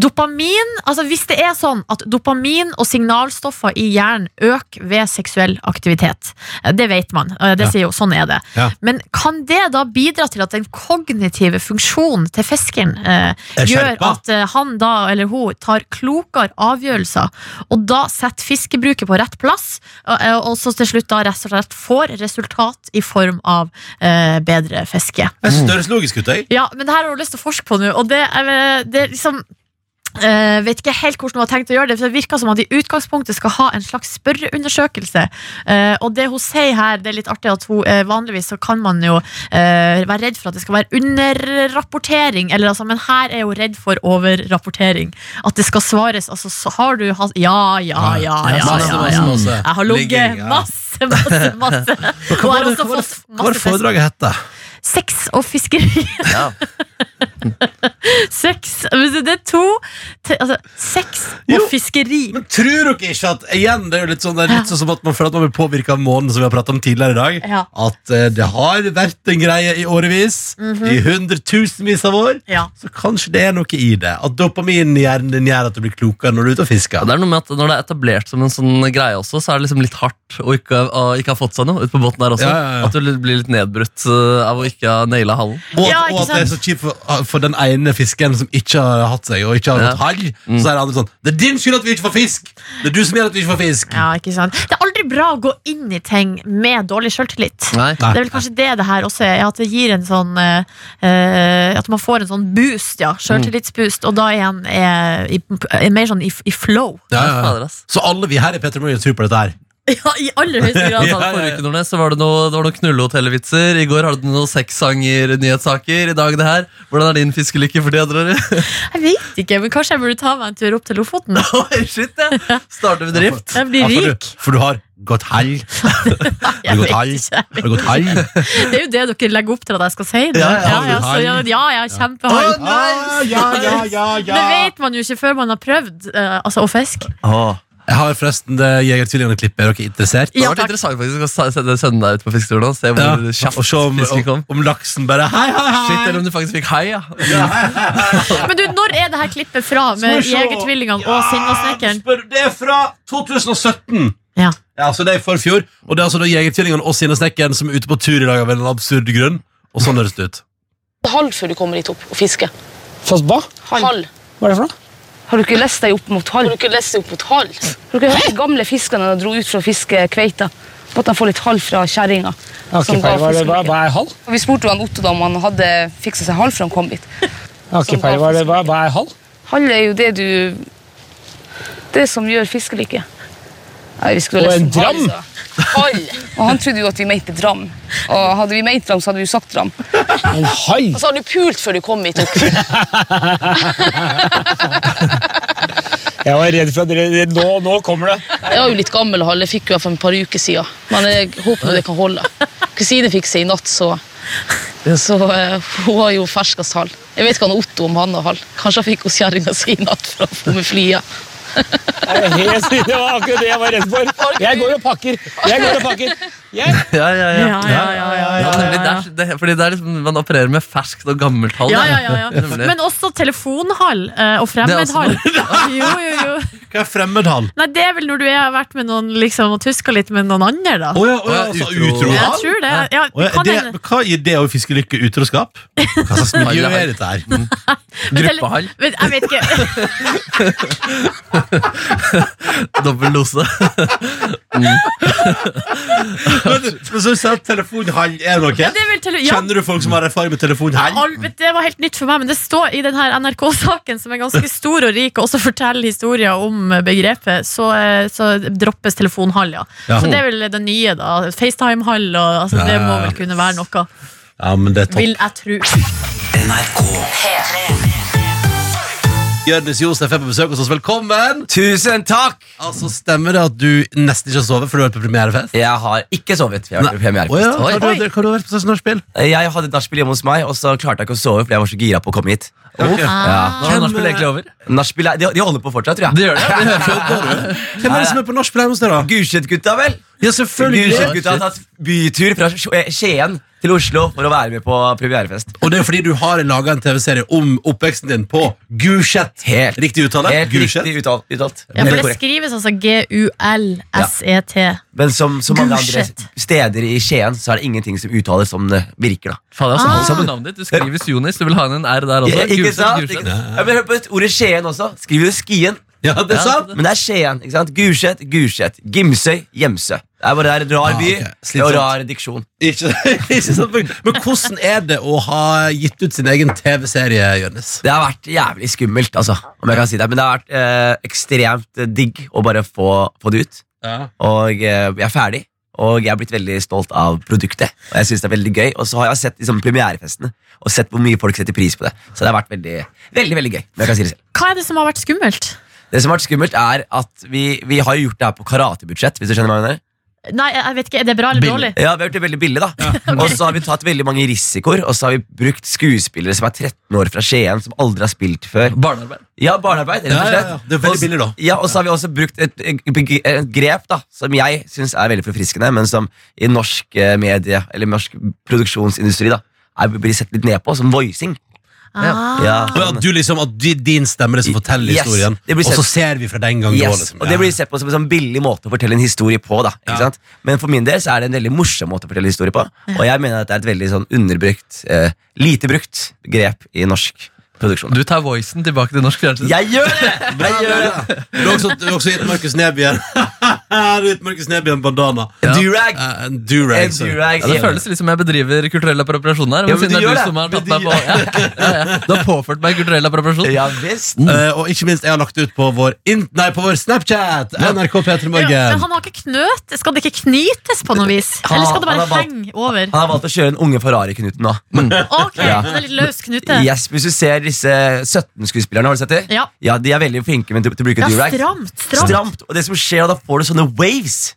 Dopamin, altså Hvis det er sånn at dopamin og signalstoffer i hjernen øker ved seksuell aktivitet eh, Det vet man. eh, det Ja. sier jo, Sånn er det. Ja. Men kan det da bidra til at den kognitive funksjonen til fiskeren eh, Er gjør skjerpa. at eh, han da, eller hun tar klokere avgjørelser, og da setter fiskebruket på rett plass, og, eh, og så til slutt da rett og slett får resultat i form av eh, bedre fiske. Jeg synes det høres logisk ut, jeg. Ja, men det her har hun lyst til å forske på nå, og det, er- det er liksom eh, vet ikke helt hvordan hun har tenkt å gjøre det, for det virker som at de i utgangspunktet skal ha en slags spørreundersøkelse. Eh, og det hun sier her, det er litt artig at hun eh, vanligvis så kan man jo eh, være redd for at det skal være underrapportering, eller altså, men her er hun redd for overrapportering. At det skal svares, altså så har du hatt Ja, ja, ja, ja, ja. Masse, ja, masse, masse. Jeg har Ligging, ligget ja. masse, masse, masse. Og <laughs> Hva jeg var har det- også hva var det- fått hva var det masse fest. foredraget heter? Sex og fiskeri. Ja. Sex men Det er to te- altså, Sex og Jo. fiskeri. Men tror dere ikke at igjen, det er jo litt sånn, det er litt sånn som at man føler at man blir påvirka av månen, som vi har pratet om tidligere i dag? Ja. At eh, det har vært en greie i årevis, i hundretusenvis av år. Mhm. Ja. Så kanskje det er noe i det. At dopaminen i hjernen din gjør at du blir klokere når du er ute Ja, og fisker. det er noe med at Når det er etablert som en sånn greie også, så er det liksom litt hardt å ikke, å ikke ha fått seg noe ute på båten der også. Ja, ja, ja. At du blir litt nedbrutt eh, av å ikke ha naila hallen. Og, Ja, og ikke at det er så kjipt for, ah, for den ene fisken som ikke har hatt seg, og ikke har Ja. gått hall. Mm. Så er det andre sånn Det er din skyld at vi ikke får fisk! Det er du som gjør at vi ikke får fisk! Ja, ikke sant? Det er aldri bra å gå inn i ting med dårlig sjøltillit. Nei. Nei. Det er vel kanskje det det her også er, at det gir en sånn eh, eh, At man får en sånn boost, ja. Sjøltillitsboost, og da er en eh, i, er mer sånn i, i flow. Ja, ja, ja. Fader, ass. Så alle vi her i Petter Morgan tror på dette her. <laughs> Ja, i aller høyeste Ja, grad. ta det forrige uke, Nordnes, så var det, noe, det var noen knullehotellvitser. I går hadde du noen sexsanger-nyhetssaker. I dag det her. Hvordan er din fiskelykke for tida, tror du? Jeg vet ikke, men kanskje jeg burde ta meg en tur opp til Lofoten? Oi, shit, ja. <laughs> Starter bedrift. Jeg blir for, rik. du, for du har gått hall. Har du Jeg gått vet hall? ikke. Har du gått hall? Det er jo det dere legger opp til at jeg skal si. det. Ja, ja, ja, har så, du ja, hall? ja, ja kjempehard. Ah, ja, ja, ja, Det vet man jo ikke før man har prøvd eh, altså, å fiske. Ah. Jeg har forresten eh, det Jegertvillingene-klippet. Er dere interessert? Det Ja, har vært takk. interessant faktisk å sa- sende, sende deg ut på fisketur nå. Se hvor Ja. kjapt Og se om, fisken om, kom. om laksen bare Hei, hei, Shit, eller hei! om du faktisk fikk hei, ja. <laughs> Men du, når er det her klippet fra med Skal vi se. Jegertvillingene og Sinnasnekkeren? Spør, det er fra 2017. Ja. Ja, så det er for fjor, og det er altså da Jegertvillingene og Sinnesnekkeren som er ute på tur i dag av en eller annen absurd grunn, og sånn høres det ut. halv før du kommer dit opp og fisker. Fast hva? Halv. Hva er det for noe? Har du ikke lest deg opp mot halv? Har du ikke lest deg opp mot halv? Har du ikke hørt de gamle fiskene de dro ut for å fiske kveita? Måtte de få litt halv fra kjerringa. Jeg har ikke som ga peiling. Hva er det- hva- fiskelykke. hva er halv? Og Vi spurte jo han Otto da om han hadde fiksa seg halv før han kom hit. Jeg har ikke peiling. Hva er det- hva- hva er halv? Halv er jo det du Det som gjør fiskelykke. Nei, vi skulle Og ha lest en om dram? halv, så. Halv. Og han trodde jo at vi mente dram. Og hadde vi ment dram, så hadde vi jo sagt dram. En hall? Og så har du pult før du kom hit opp. Jeg var redd for at dere nå, nå kommer det. Jeg var jo litt gammel og halv, jeg fikk jo for et par uker siden. Men jeg håper det kan holde. Kusine fikk seg i natt, så, så eh, hun har jo ferskest halv. Jeg vet ikke han Otto om han har halv. Kanskje han fikk hos kjerringa si i natt for å få med flyet. Jeg er helt sikker, Det var akkurat det jeg var redd for. Jeg går og pakker. Jeg går og pakker. Jeg, Ja, ja, ja. Ja, ja, ja, ja, ja. Ja, nemlig, det er, det, fordi det er liksom, Man opererer med ferskt og gammelt tall. Ja, da. ja, ja, ja. <laughs> Nemlig. Men også telefonhall eh, og <laughs> fremmedhall. Jo, jo, jo. Hva er fremmedhall? Nei, det er vel når du har vært med noen liksom, og tuska litt med noen andre, da. Å ja, å ja, altså Utro. utrohall? Jeg tror det. Ja, Å ja, kan det, hende. men hva gir det å fiske lykke utroskap? Hva slags miljø er Mm. dette her? Men tele- Gruppehall. Men Jeg vet ikke. Dobbel dose. Men men så sa jeg at telefonhall er noe. Det er vel tele ja, Kjenner du folk som har erfaring med telefonhall? Al- vet du, Det var helt nytt for meg, men det står i denne NRK-saken, som er ganske stor og rik, og også forteller historier om begrepet, så, eh, så droppes telefonhall, ja. Ja. Så det er vel det nye, da. FaceTime-hall og altså, Det må vel kunne være noe, Ja, men det er topp. vil jeg tro. Jonis Josef er på besøk hos oss. Velkommen! Tusen takk! Altså, Stemmer det at du nesten ikke har sovet fordi du har vært på premierefest? Jeg har ikke sovet. Jeg, har vært på Å ja, premierefest. hva har du, hva har du vært på slags nachspiel? jeg hadde et nachspiel hjemme hos meg, og så klarte jeg ikke å sove fordi jeg var så gira på å komme hit. Nå er nachspiel egentlig over. Nachspiel er- Eh, de, de holder på fortsatt, tror jeg. Det <laughs> <laughs> gjør det. det hører jeg. Hvem er det som er på nachspiel hjemme hos deg, da? Gulset-gutta, vel? Ja, selvfølgelig. Gulset-gutta har tatt bytur fra Sk- eh, Skien til Oslo for å være med på premierefest. Og det er fordi du har laga en TV-serie om oppveksten din på Gulset. Helt- Riktig uttale? Helt Gulset. riktig uttalt. uttalt. Ja, for Helt det korrekt. skrives altså G-U-L-S-E-T. Men som, som mange andre Gulset. steder i Skien, så er det ingenting som uttales som det virker. da Faen, jeg har Ah. så holdt på navnet altså, ditt. Du skriver Jonis. Du vil ha inn en R der også. Ja, ikke Gulset, sant? Gulset. Ikke sant? Ja, men hør på ordet Skien også. Skriver du Skien? Ja, det er Ja. sant. Men det er Skien. ikke sant? Gulset, Gulset. Gimsøy, Gjemsø. Det er bare det er en rar Ah, by ok. og Slitsomt. rar diksjon. Ikke, <laughs> ikke sant. Men hvordan er det å ha gitt ut sin egen TV-serie, Jonis? Det har vært jævlig skummelt, altså, om jeg kan si det. Men det har vært eh, ekstremt digg å bare få, få det ut. Og eh, jeg er ferdig. Og jeg er blitt veldig stolt av produktet. Og jeg synes det er veldig gøy Og så har jeg sett liksom, premierefestene og sett hvor mye folk setter pris på det. Så det har vært veldig veldig, veldig gøy. om Jeg kan si det selv Hva er det som har vært skummelt? Det som har vært skummelt, er at vi, vi har gjort det her på karatebudsjett. Hvis du skjønner hva jeg mener Nei, jeg jeg vet ikke. Er det bra eller dårlig? Ja, vi har gjort det veldig billig, da. <laughs> Og så har vi tatt veldig mange risikoer, og så har vi brukt skuespillere som er 13 år fra Skien, som aldri har spilt før. Barnearbeid. Ja, barnearbeid, rett Ja, og ja, slett. ja. Det er veldig Og s- billig, da. Ja, Og så har vi også brukt et, et beg- et grep da, som jeg syns er veldig forfriskende, men som i norsk eh, medie, eller norsk produksjonsindustri, da, er, blir sett litt ned på, som voicing. Ah. Ja. Og at du liksom, at di- din stemme er det som forteller Yes, historien, det blir og så sett. ser vi fra den gangen det Yes, var, liksom. og Det Ja. blir sett på som en sånn billig måte å fortelle en historie på. da, ikke sant? Men for min del så er det en veldig morsom måte å fortelle historie på. Og jeg mener at det er et veldig sånn underbrukt, eh, lite brukt grep i norsk produksjon. Du tar voicen tilbake til norsk fjernsyn. Jeg gjør <laughs> det! Jeg gjør det! Du har også, du har også gitt Markus Neby en <laughs> Du har gitt Markus Neby en bandana. En durag. Eh, En durag. En sorry. durag. Ja, det føles litt som jeg bedriver kulturell appropriasjon her. Men, Ja, men siden du det er gjør du det. som har Men tatt du meg på ja, ja, ja. Du har påført meg kulturell appropriasjon. Ja visst. Eh, og ikke minst, jeg har lagt ut på vår, in nei, på vår Snapchat! NRK P3 Morgen. eh, Ja, men han har ikke knøt Skal det ikke knytes på noe vis? Han- Eller skal det bare han har valgt- henge over? Han har valgt å kjøre en unge Ferrari-Knuten nå. Ok, Ja. den er litt løs knute Yes, Hvis du ser disse 17-skuespillerne, har du sett dem? Ja. ja, de er veldig flinke med til til å bruke Ja, durag. stramt, stramt Stramt. Og det som skjer, da får du sånne waves.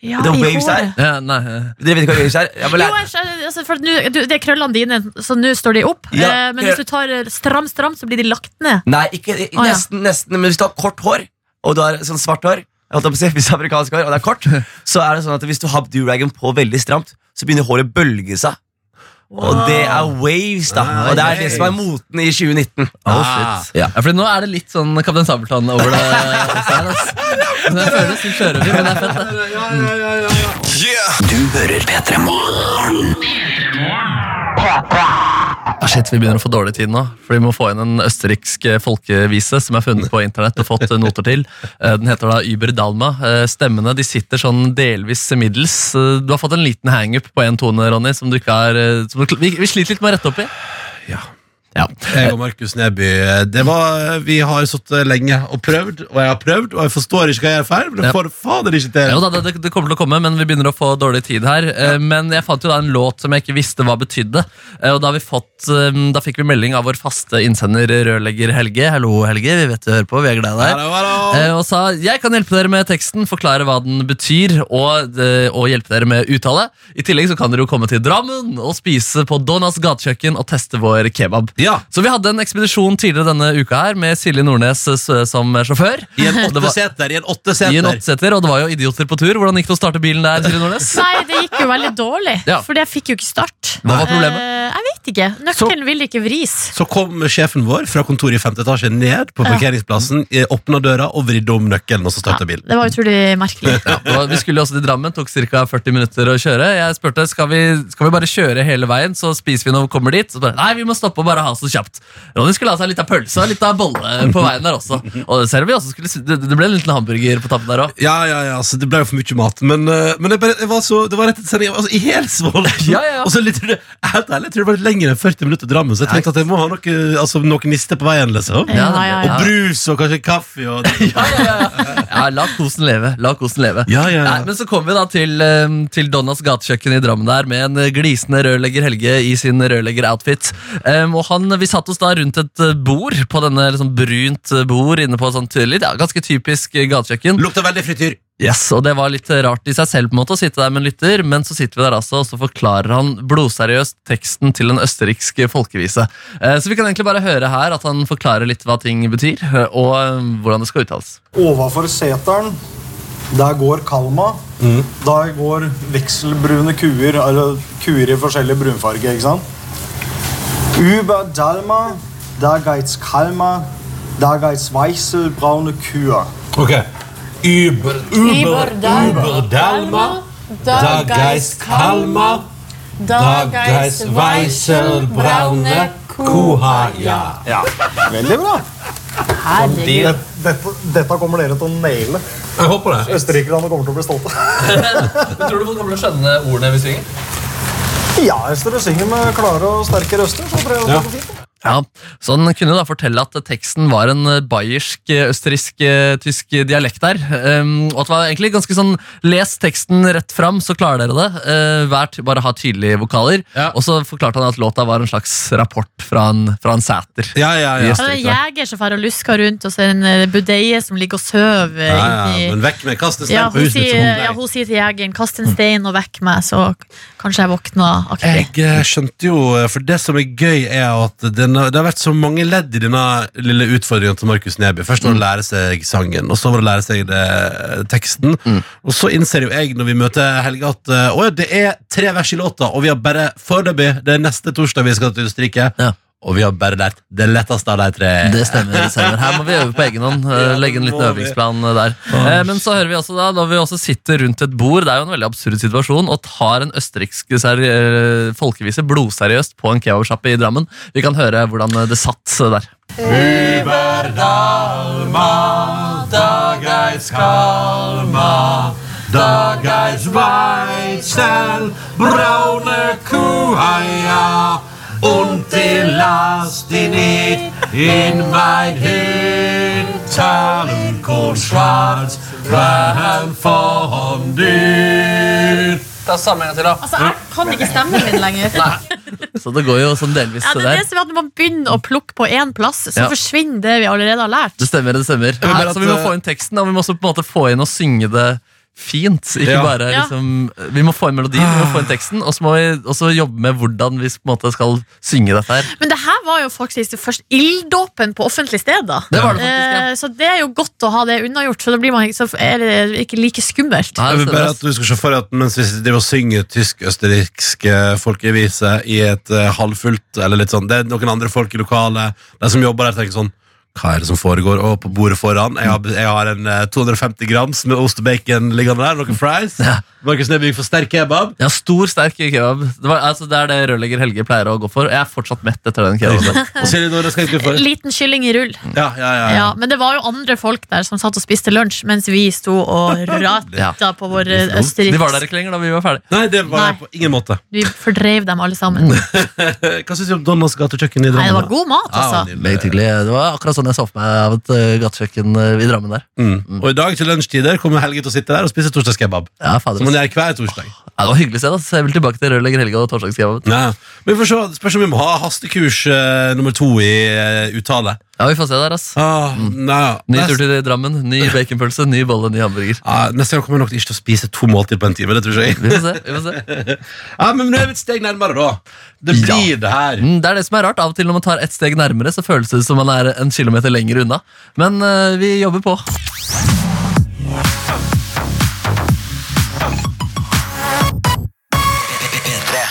Ja, The i waves håret. er- Ja, nei, eh. Dere vet ikke hva waves er? Jeg må Jo, lære- jeg, skjønner, altså, for at nå- du, det er krøllene dine, så nå står de opp. Ja. eh, men hvis du tar eh, stram, stram, så blir de lagt ned. Nei, ikke, i- Å, ja. nesten, nesten, men hvis du har kort hår, og du har sånn svart hår, jeg holdt på å si, <laughs> hvis du har amerikansk <laughs> hår, og det er kort, så er det sånn at hvis du har duragen på veldig stramt, så begynner håret å bølge seg. Og det er waves, da. Ah, Og det er det som er moten i 2019. Ah. Ja, fordi nå er det litt sånn Kaptein Sabeltann over det. også her, ass. Men jeg føler det som sjørøver, men det er fett, det. Du hører P3 Morgen. Ah, shit, vi begynner å få dårlig tid nå, for vi må få inn en østerriksk eh, folkevise som er funnet på internett og fått eh, noter til. Eh, Den heter da Über Dalma. Eh, Stemmene de sitter sånn delvis middels. Eh, Du har fått en liten hangup på én tone, Ronny, som du ikke har eh, som du, vi, vi sliter litt med å rette opp i. Jeg og Markus Neby eh, det var, Vi har sittet lenge og prøvd, og jeg har prøvd, og jeg forstår ikke hva jeg gjør feil. Men Ja. jeg får fader ikke til Jo da, det, det kommer til å komme, men vi begynner å få dårlig tid her. Eh, Men jeg fant jo da en låt som jeg ikke visste hva betydde. Eh, Og da, har vi fått, eh, da fikk vi melding av vår faste innsender rørlegger Helge. Hallo, Helge. Vi vet du hører på. Vi er glad i deg. Eh, Og sa jeg kan hjelpe dere med teksten, forklare hva den betyr, og, eh, og hjelpe dere med uttale. I tillegg så kan dere jo komme til Drammen og spise på Donas gatekjøkken og teste vår kebab. Så vi hadde en ekspedisjon tidligere denne uka her med Silje Nordnes eh, s- som sjåfør. I <laughs> en Og det var- åtteseter, i i en en åtteseter. åtteseter, og det var jo idioter på tur. Hvordan gikk det å starte bilen der? Silje Nordnes? Nei, det gikk jo veldig dårlig, <laughs> Ja. for jeg fikk jo ikke start. Hva var problemet? Eh, jeg vet ikke. Nøkkelen ville ikke vris. Så kom sjefen vår fra kontoret i femte etasje ned på Ja. parkeringsplassen, eh, åpna døra og vridde om nøkkelen, og så starta bilen. Det var utrolig <laughs> merkelig. Ja, det var, vi skulle også til Drammen, tok ca. 40 minutter å kjøre. Jeg spurte skal vi skal vi bare kjøre hele veien, så spiser vi når vi kommer dit. Så bare, Nei, vi må stoppe og bare ha så kjapt. Ronny skulle ha seg litt av pølse og litt av bolle på veien der også. Og det ser vi også skulle, det, det ble en liten hamburger på tappen der òg. Ja, ja, ja, altså, det ble jo for mye mat. Men, eh, men jeg bare, jeg var så, det var rett etter sending. Jeg var så i helsvål. <laughs> Ja, ja, ja. Og så litt, helt ærlig, jeg tror det var litt lenger enn 40 minutter til Drammen, så jeg tenkte at jeg må ha noe, altså, noe niste på veien. Liksom. Ja, ja, ja. Og brus og kanskje kaffe. Og <laughs> Ja, la kosen leve. La kosen leve. Ja, ja, ja. Nei, men så kom vi da til, eh, til Donnas gatekjøkken i Drammen der med en eh, glisende rørlegger Helge i sin rørlegger-outfit. Em, og han, Vi satt oss da rundt et eh, bord på denne liksom brunt eh, bord inne på et sånt eh, litt, ja, ganske typisk eh, gatekjøkken. Lukta veldig frityr. Yes, og Det var litt eh, rart i seg selv på en måte å sitte der med en lytter, men så sitter vi der altså, og så forklarer han blodseriøst teksten til en østerriksk folkevise. Eh, Så vi kan egentlig bare høre her at han forklarer litt hva ting betyr, eh, og eh, hvordan det skal uttales. Overfor seteren, der går Kalma. Mm. Der går vekselbrune kuer, eller kuer i forskjellig brunfarge, ikke sant? Über Dalma, der geits Kalma, der geits weichselbraune kuer. Ok. Über, Über Dal- über Dalma, Da geist Kalma, da geist Weiselbraune Kuhaja. Ja. Veldig bra. Herregud. Dette, dette kommer dere til å naile. Jeg håper det. Østerrikerne kommer til å bli stolte. Tror du folk kommer til å skjønne ordene vi synger? <laughs> Ja, hvis dere synger med klare og sterke røster, så tror jeg det går fint. Ja, så Han kunne da fortelle at teksten var en eh, bayersk, eh, østerriksk, eh, tysk dialekt der. ehm, og at det var egentlig ganske sånn Les teksten rett fram, så klarer dere det. Eh, hver ty- bare ha tydelige vokaler. Og så forklarte han at låta var en slags rapport fra en, fra en sæter. i Ja, det er Østerrike. en jeger som drar og lusker rundt, og så er det en eh, budeie som ligger og sover. eh, Ja, ja, inni- men vekk med kast en stein ja, på hun, huset mitt sier, som hun ja, hun sier til jegeren 'kast en stein og vekk meg', så k- kanskje jeg våkner aktivt. Jeg eh, skjønte jo, eh, for det som er gøy er at denne, det har vært så mange ledd i denne lille utfordringen til Markus Neby. Først var det å lære seg sangen, og så var det å lære seg det, teksten. Og så innser jo jeg når vi møter Helge at eh, åja, det er tre vers i låta, og vi har bare foreløpig, det er neste torsdag vi skal til Østerrike, og vi har bare lært det letteste av de tre. Det stemmer. det stemmer. Her må vi øve på egen <laughs> hånd. eh, Legge en liten må vi. øvingsplan eh, der. Eh, Men så hører vi også da, når vi også sitter rundt et bord, det er jo en veldig absurd situasjon, og tar en østerriksk ser- eh, folkevise blodseriøst på en kebabsjappe i Drammen. Vi kan høre hvordan eh, det satt eh, der. Über Dalma, da geist Kalma, da geist Weizel, braune Kuhaja. Und die lasst die nicht in mein Hintern, Kohl schwarz, warm von dir. Ta samme gang til, da. Altså, jeg kan ikke stemmen min lenger. Så det går jo sånn delvis Ja, det er der. det som er at Når man begynner å plukke på én plass, så Ja. forsvinner det vi allerede har lært. Det stemmer, det stemmer. vil bare Her, så vi må at, eh, få inn teksten, og vi må også på en måte få inn og synge det fint. Ikke Ja. bare Ja. liksom Vi må få inn melodien, vi må få inn teksten, og så må vi også jobbe med hvordan vi på en måte skal synge dette her. Men det her var jo faktisk det første ilddåpen på offentlig sted. da Det var det faktisk, Eh, Så det er jo godt å ha det unnagjort, så da blir man ikke, så er det ikke like skummelt. Jeg vil bare at du skal se for deg at mens vi driver og synger tysk-østerrikske folkeviser i et eh, halvfullt eller litt sånn, Det er noen andre folk i lokalet, de som jobber der, tenker sånn Hva er det som foregår? Og på bordet foran Jeg har, jeg har en eh, 250 grams med ost og bacon liggende der, noen fries. Markus Nebygg for sterk kebab. Ja, stor, sterk kebab. Det, var, altså, det er det rørlegger Helge pleier å gå for. Jeg er fortsatt mett etter den <laughs> kebaben. Og Silje Nordnes, hva skal du for? Liten kylling i rull. Ja, ja, ja, ja. Ja, men det var jo andre folk der som satt og spiste lunsj mens vi sto <laughs> og Ja. rata på vår De var der østerriksk ikke lenger da vi var ferdige. Nei, det var jeg på ingen måte. Vi fordrev dem alle <laughs> sammen. Eh, Hva syns du om Donnas gatekjøkken i Nei, Drammen? det var da? god mat, Ja, altså. nydelig. Meget hyggelig. Det var akkurat sånn jeg så for meg av et eh, gatekjøkken eh, i Drammen der. Mm. Og i dag til lunsjtider kommer Helge til å sitte der og spise torsdagskebab. Ja, fader. Som han gjør hver torsdag. Ja, det var hyggelig å se, da. Så jeg vil tilbake til rørlegger Helge og torsdagskebaben. Ja. Men vi får se, det spørs om vi må ha hastekurs eh, nummer to i eh, uttale. Ja, vi får se der, ass. Ah, nei, Ny nest- tur til Drammen, ny baconpølse, ny bolle, ny hamburger. Ja, neste gang kommer jeg nok ikke til å spise to måltider på en time. Det tror jeg. Vi får se. vi får se Ja, Men nå er vi et steg nærmere, da. Det blir det her. Mm, Det er det som er rart. Av og til når man tar et steg nærmere, så føles det som man er en kilometer lenger unna. Men eh, vi jobber på.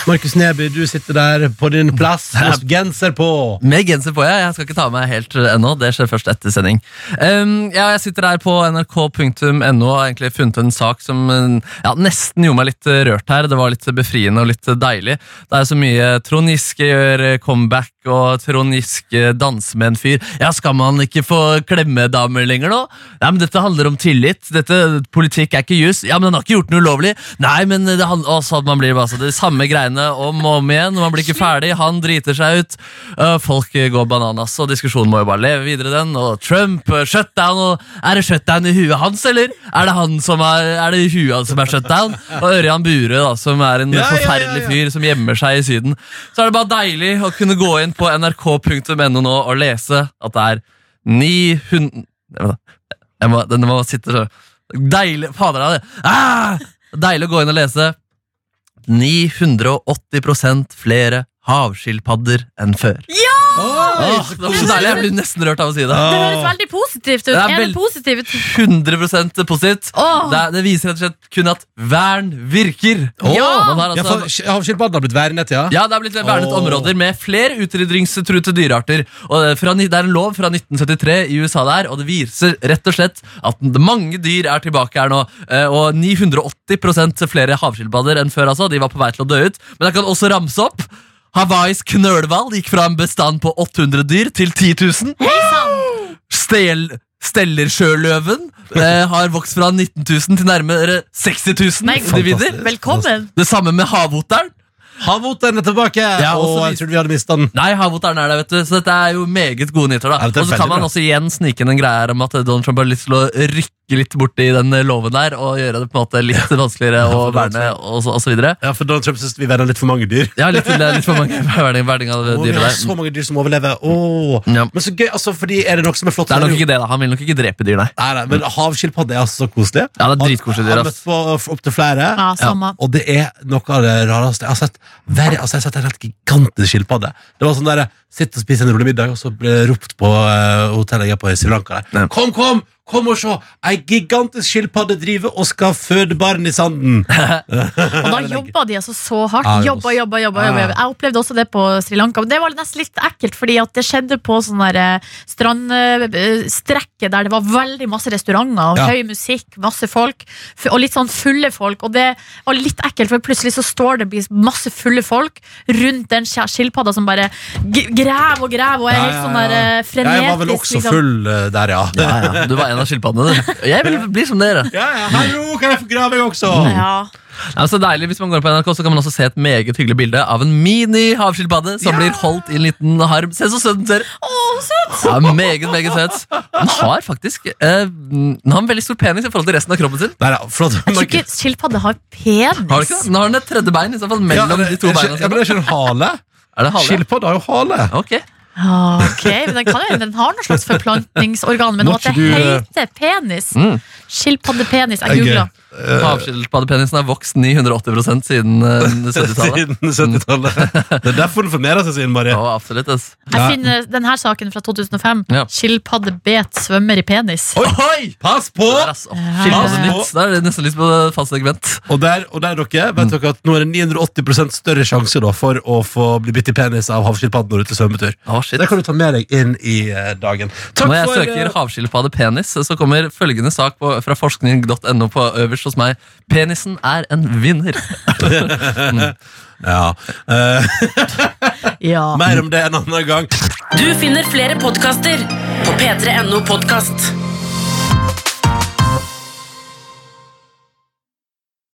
Markus Neby, du sitter der på din plass med genser på. Med genser på, jeg. Jeg skal ikke ta meg helt eh, ennå. Det skjer først etter sending. Em, ja, jeg sitter her på nrk.no og har egentlig funnet en sak som eh, ja, nesten gjorde meg litt eh, rørt her. Det var litt befriende og litt eh, deilig. Det er så mye Trond Giske gjør eh, comeback, og Trond Giske danser med en fyr. Ja, skal man ikke få klemme damer lenger nå? Ja, men dette handler om tillit. Dette, eh, politikk er ikke jus. Ja, men han har ikke gjort noe ulovlig. Nei, men det handler også at man blir altså, det samme greiene om og om igjen. Man blir ikke ferdig. Han driter seg ut. Eh, Folk eh, går bananas, og diskusjonen må jo bare leve videre, den. Og Trump, eh, shutdown, og er det shutdown i huet hans, eller? Er det han som er, er det i huet hans som er shutdown? Og Ørjan Burøe, da, som er en Ja, ja, ja, forferdelig ja. fyr som gjemmer seg i Syden. Så er det bare deilig å kunne gå inn på nrk.no nå og lese at det er 900 Nei, vent da. Jeg må, den må sitte så Deilig Fader, det er det. Ah! Deilig å gå inn og lese. 980 flere havskilpadder enn før. Ja! Åh, det var så deilig. Jeg blir nesten rørt av å si det. Det høres veldig positivt ut. Det er Er det veld- positivt? 100 positivt. Åh. Det, er- det viser rett og slett kun at vern virker. Man har Ja, altså, for Havskilpadden har blitt værnet, ja? ja, det er blitt vernet Åh. områder med flere utrydningstruede dyrearter. Og det, er fra, ni- det er en lov fra 1973 i USA der, og det viser rett og slett at n- mange dyr er tilbake her nå. Eh, Og 980 flere havskilpadder enn før, altså. De var på vei til å dø ut. Men jeg kan også ramse opp. Hawaiis knølhval gikk fra en bestand på 800 dyr til 10 000. Stel, Stellersjøløven eh, har vokst fra 19 000 til nærmere 60 000 Nei, individer. Velkommen. Det samme med havoteren. Havoteren er tilbake! Ja, og også jeg trodde vi hadde mistet den. Nei, havoteren er der, vet du. Så dette er jo meget gode nyheter. da Ja, dette er Og så kan veldig man bra. også igjen snike inn en greie her om at Donald Trump har lyst til å rykke litt borti den loven der og gjøre det på en måte litt vanskeligere å verne og så, og så videre. Ja, for Donald Trump syns vi verner litt for mange dyr. Ja, litt, litt for mange <laughs> verning, verning av Å, vi dyret har der. så mange dyr som overlever. Åh. Men så gøy, altså, fordi er det noe som er flott Det er nok ikke det, da. Han vil nok ikke drepe dyr, nei. Nei, nei, men Havskilpadde er altså så koselig. Ja, det er dritkoselig dyr, Jeg har møtt ass. på eh, opptil flere, Ja, samme. og det er noe av det rareste. Jeg har sett, verre, altså, jeg har sett en helt gigantisk skilpadde. Det var sånn der, Sitt og spise en rullemiddag, og så ble det ropt på eh, hotellet jeg er på i Sri Lanka. Der. Kom, kom! Kom og se! Ei gigantisk skilpadde driver og skal føde barn i sanden. Og da jobba de altså så hardt. Ja, det Jobba, jobba, var s- jobba, Ja. jobba. jobba. Jeg opplevde også det på Sri Lanka. Men det var nesten litt ekkelt, fordi at det skjedde på sånn der eh, strandstrekket der det var veldig masse restauranter og Ja. høy musikk, masse folk, f- og litt sånn fulle folk. Og det var litt ekkelt, for plutselig så står det masse fulle folk rundt den skja- skilpadda som bare g- graver og graver og er Ja, helt ja, sånn ja. der eh, frenetisk. Jeg var vel også liksom. full eh, der, ja. Ja, ja. Du var en av skilpaddene, du. Og Jeg vil bli som dere. Ja, ja. Hallo, kan jeg få grave, jeg også? Mm. Ja. Ja, så deilig, Hvis man går inn på NRK, så kan man også se et meget hyggelig bilde av en mini-havskilpadde som blir holdt i en liten harm. Se så søt den ser! Ja, meget, meget søt. Den har faktisk eh, Den har en veldig stor penis i forhold til resten av kroppen sin. Jeg tror ikke skilpadde har penis. Har du ikke det? Den har den et tredje bein i så fall mellom Ja, de to det- beina. Ja, men det er ikke en hale. Er det hale? Skilpadde har jo hale. Ok. Eh, Ah, Ok, men den, kan, jo- den har noe slags forplantningsorgan, men Må at det ikke du, eh, heter penis Mm. Skilpaddepenis. Jeg googla. Havskilpaddepenisen har vokst 980 siden eh, <laughs> 70-tallet. Siden 70-tallet. Mm. <laughs> Det er derfor den formerer seg, Marie. Ja, absolutt. ass. Jeg finner denne saken fra 2005. Skilpadde bet svømmer i penis. Pass på! Skilpaddenytt. Da er det nesten litt på fast segment. Og der, og der dere, Mm. vet dere at nå er det 980 større sjanse da, for å få bli bitt i penis av havskilpadden når du er ute i svømmetur. det kan du ta med deg inn i eh, dagen. Takk Når jeg for, eh, søker havskilpaddepenis, så kommer følgende sak på, fra forskning.no på øverst hos meg. Penisen er en vinner. ja. ja. Mer om det en annen gang. Du finner flere podkaster på p3.no podkast.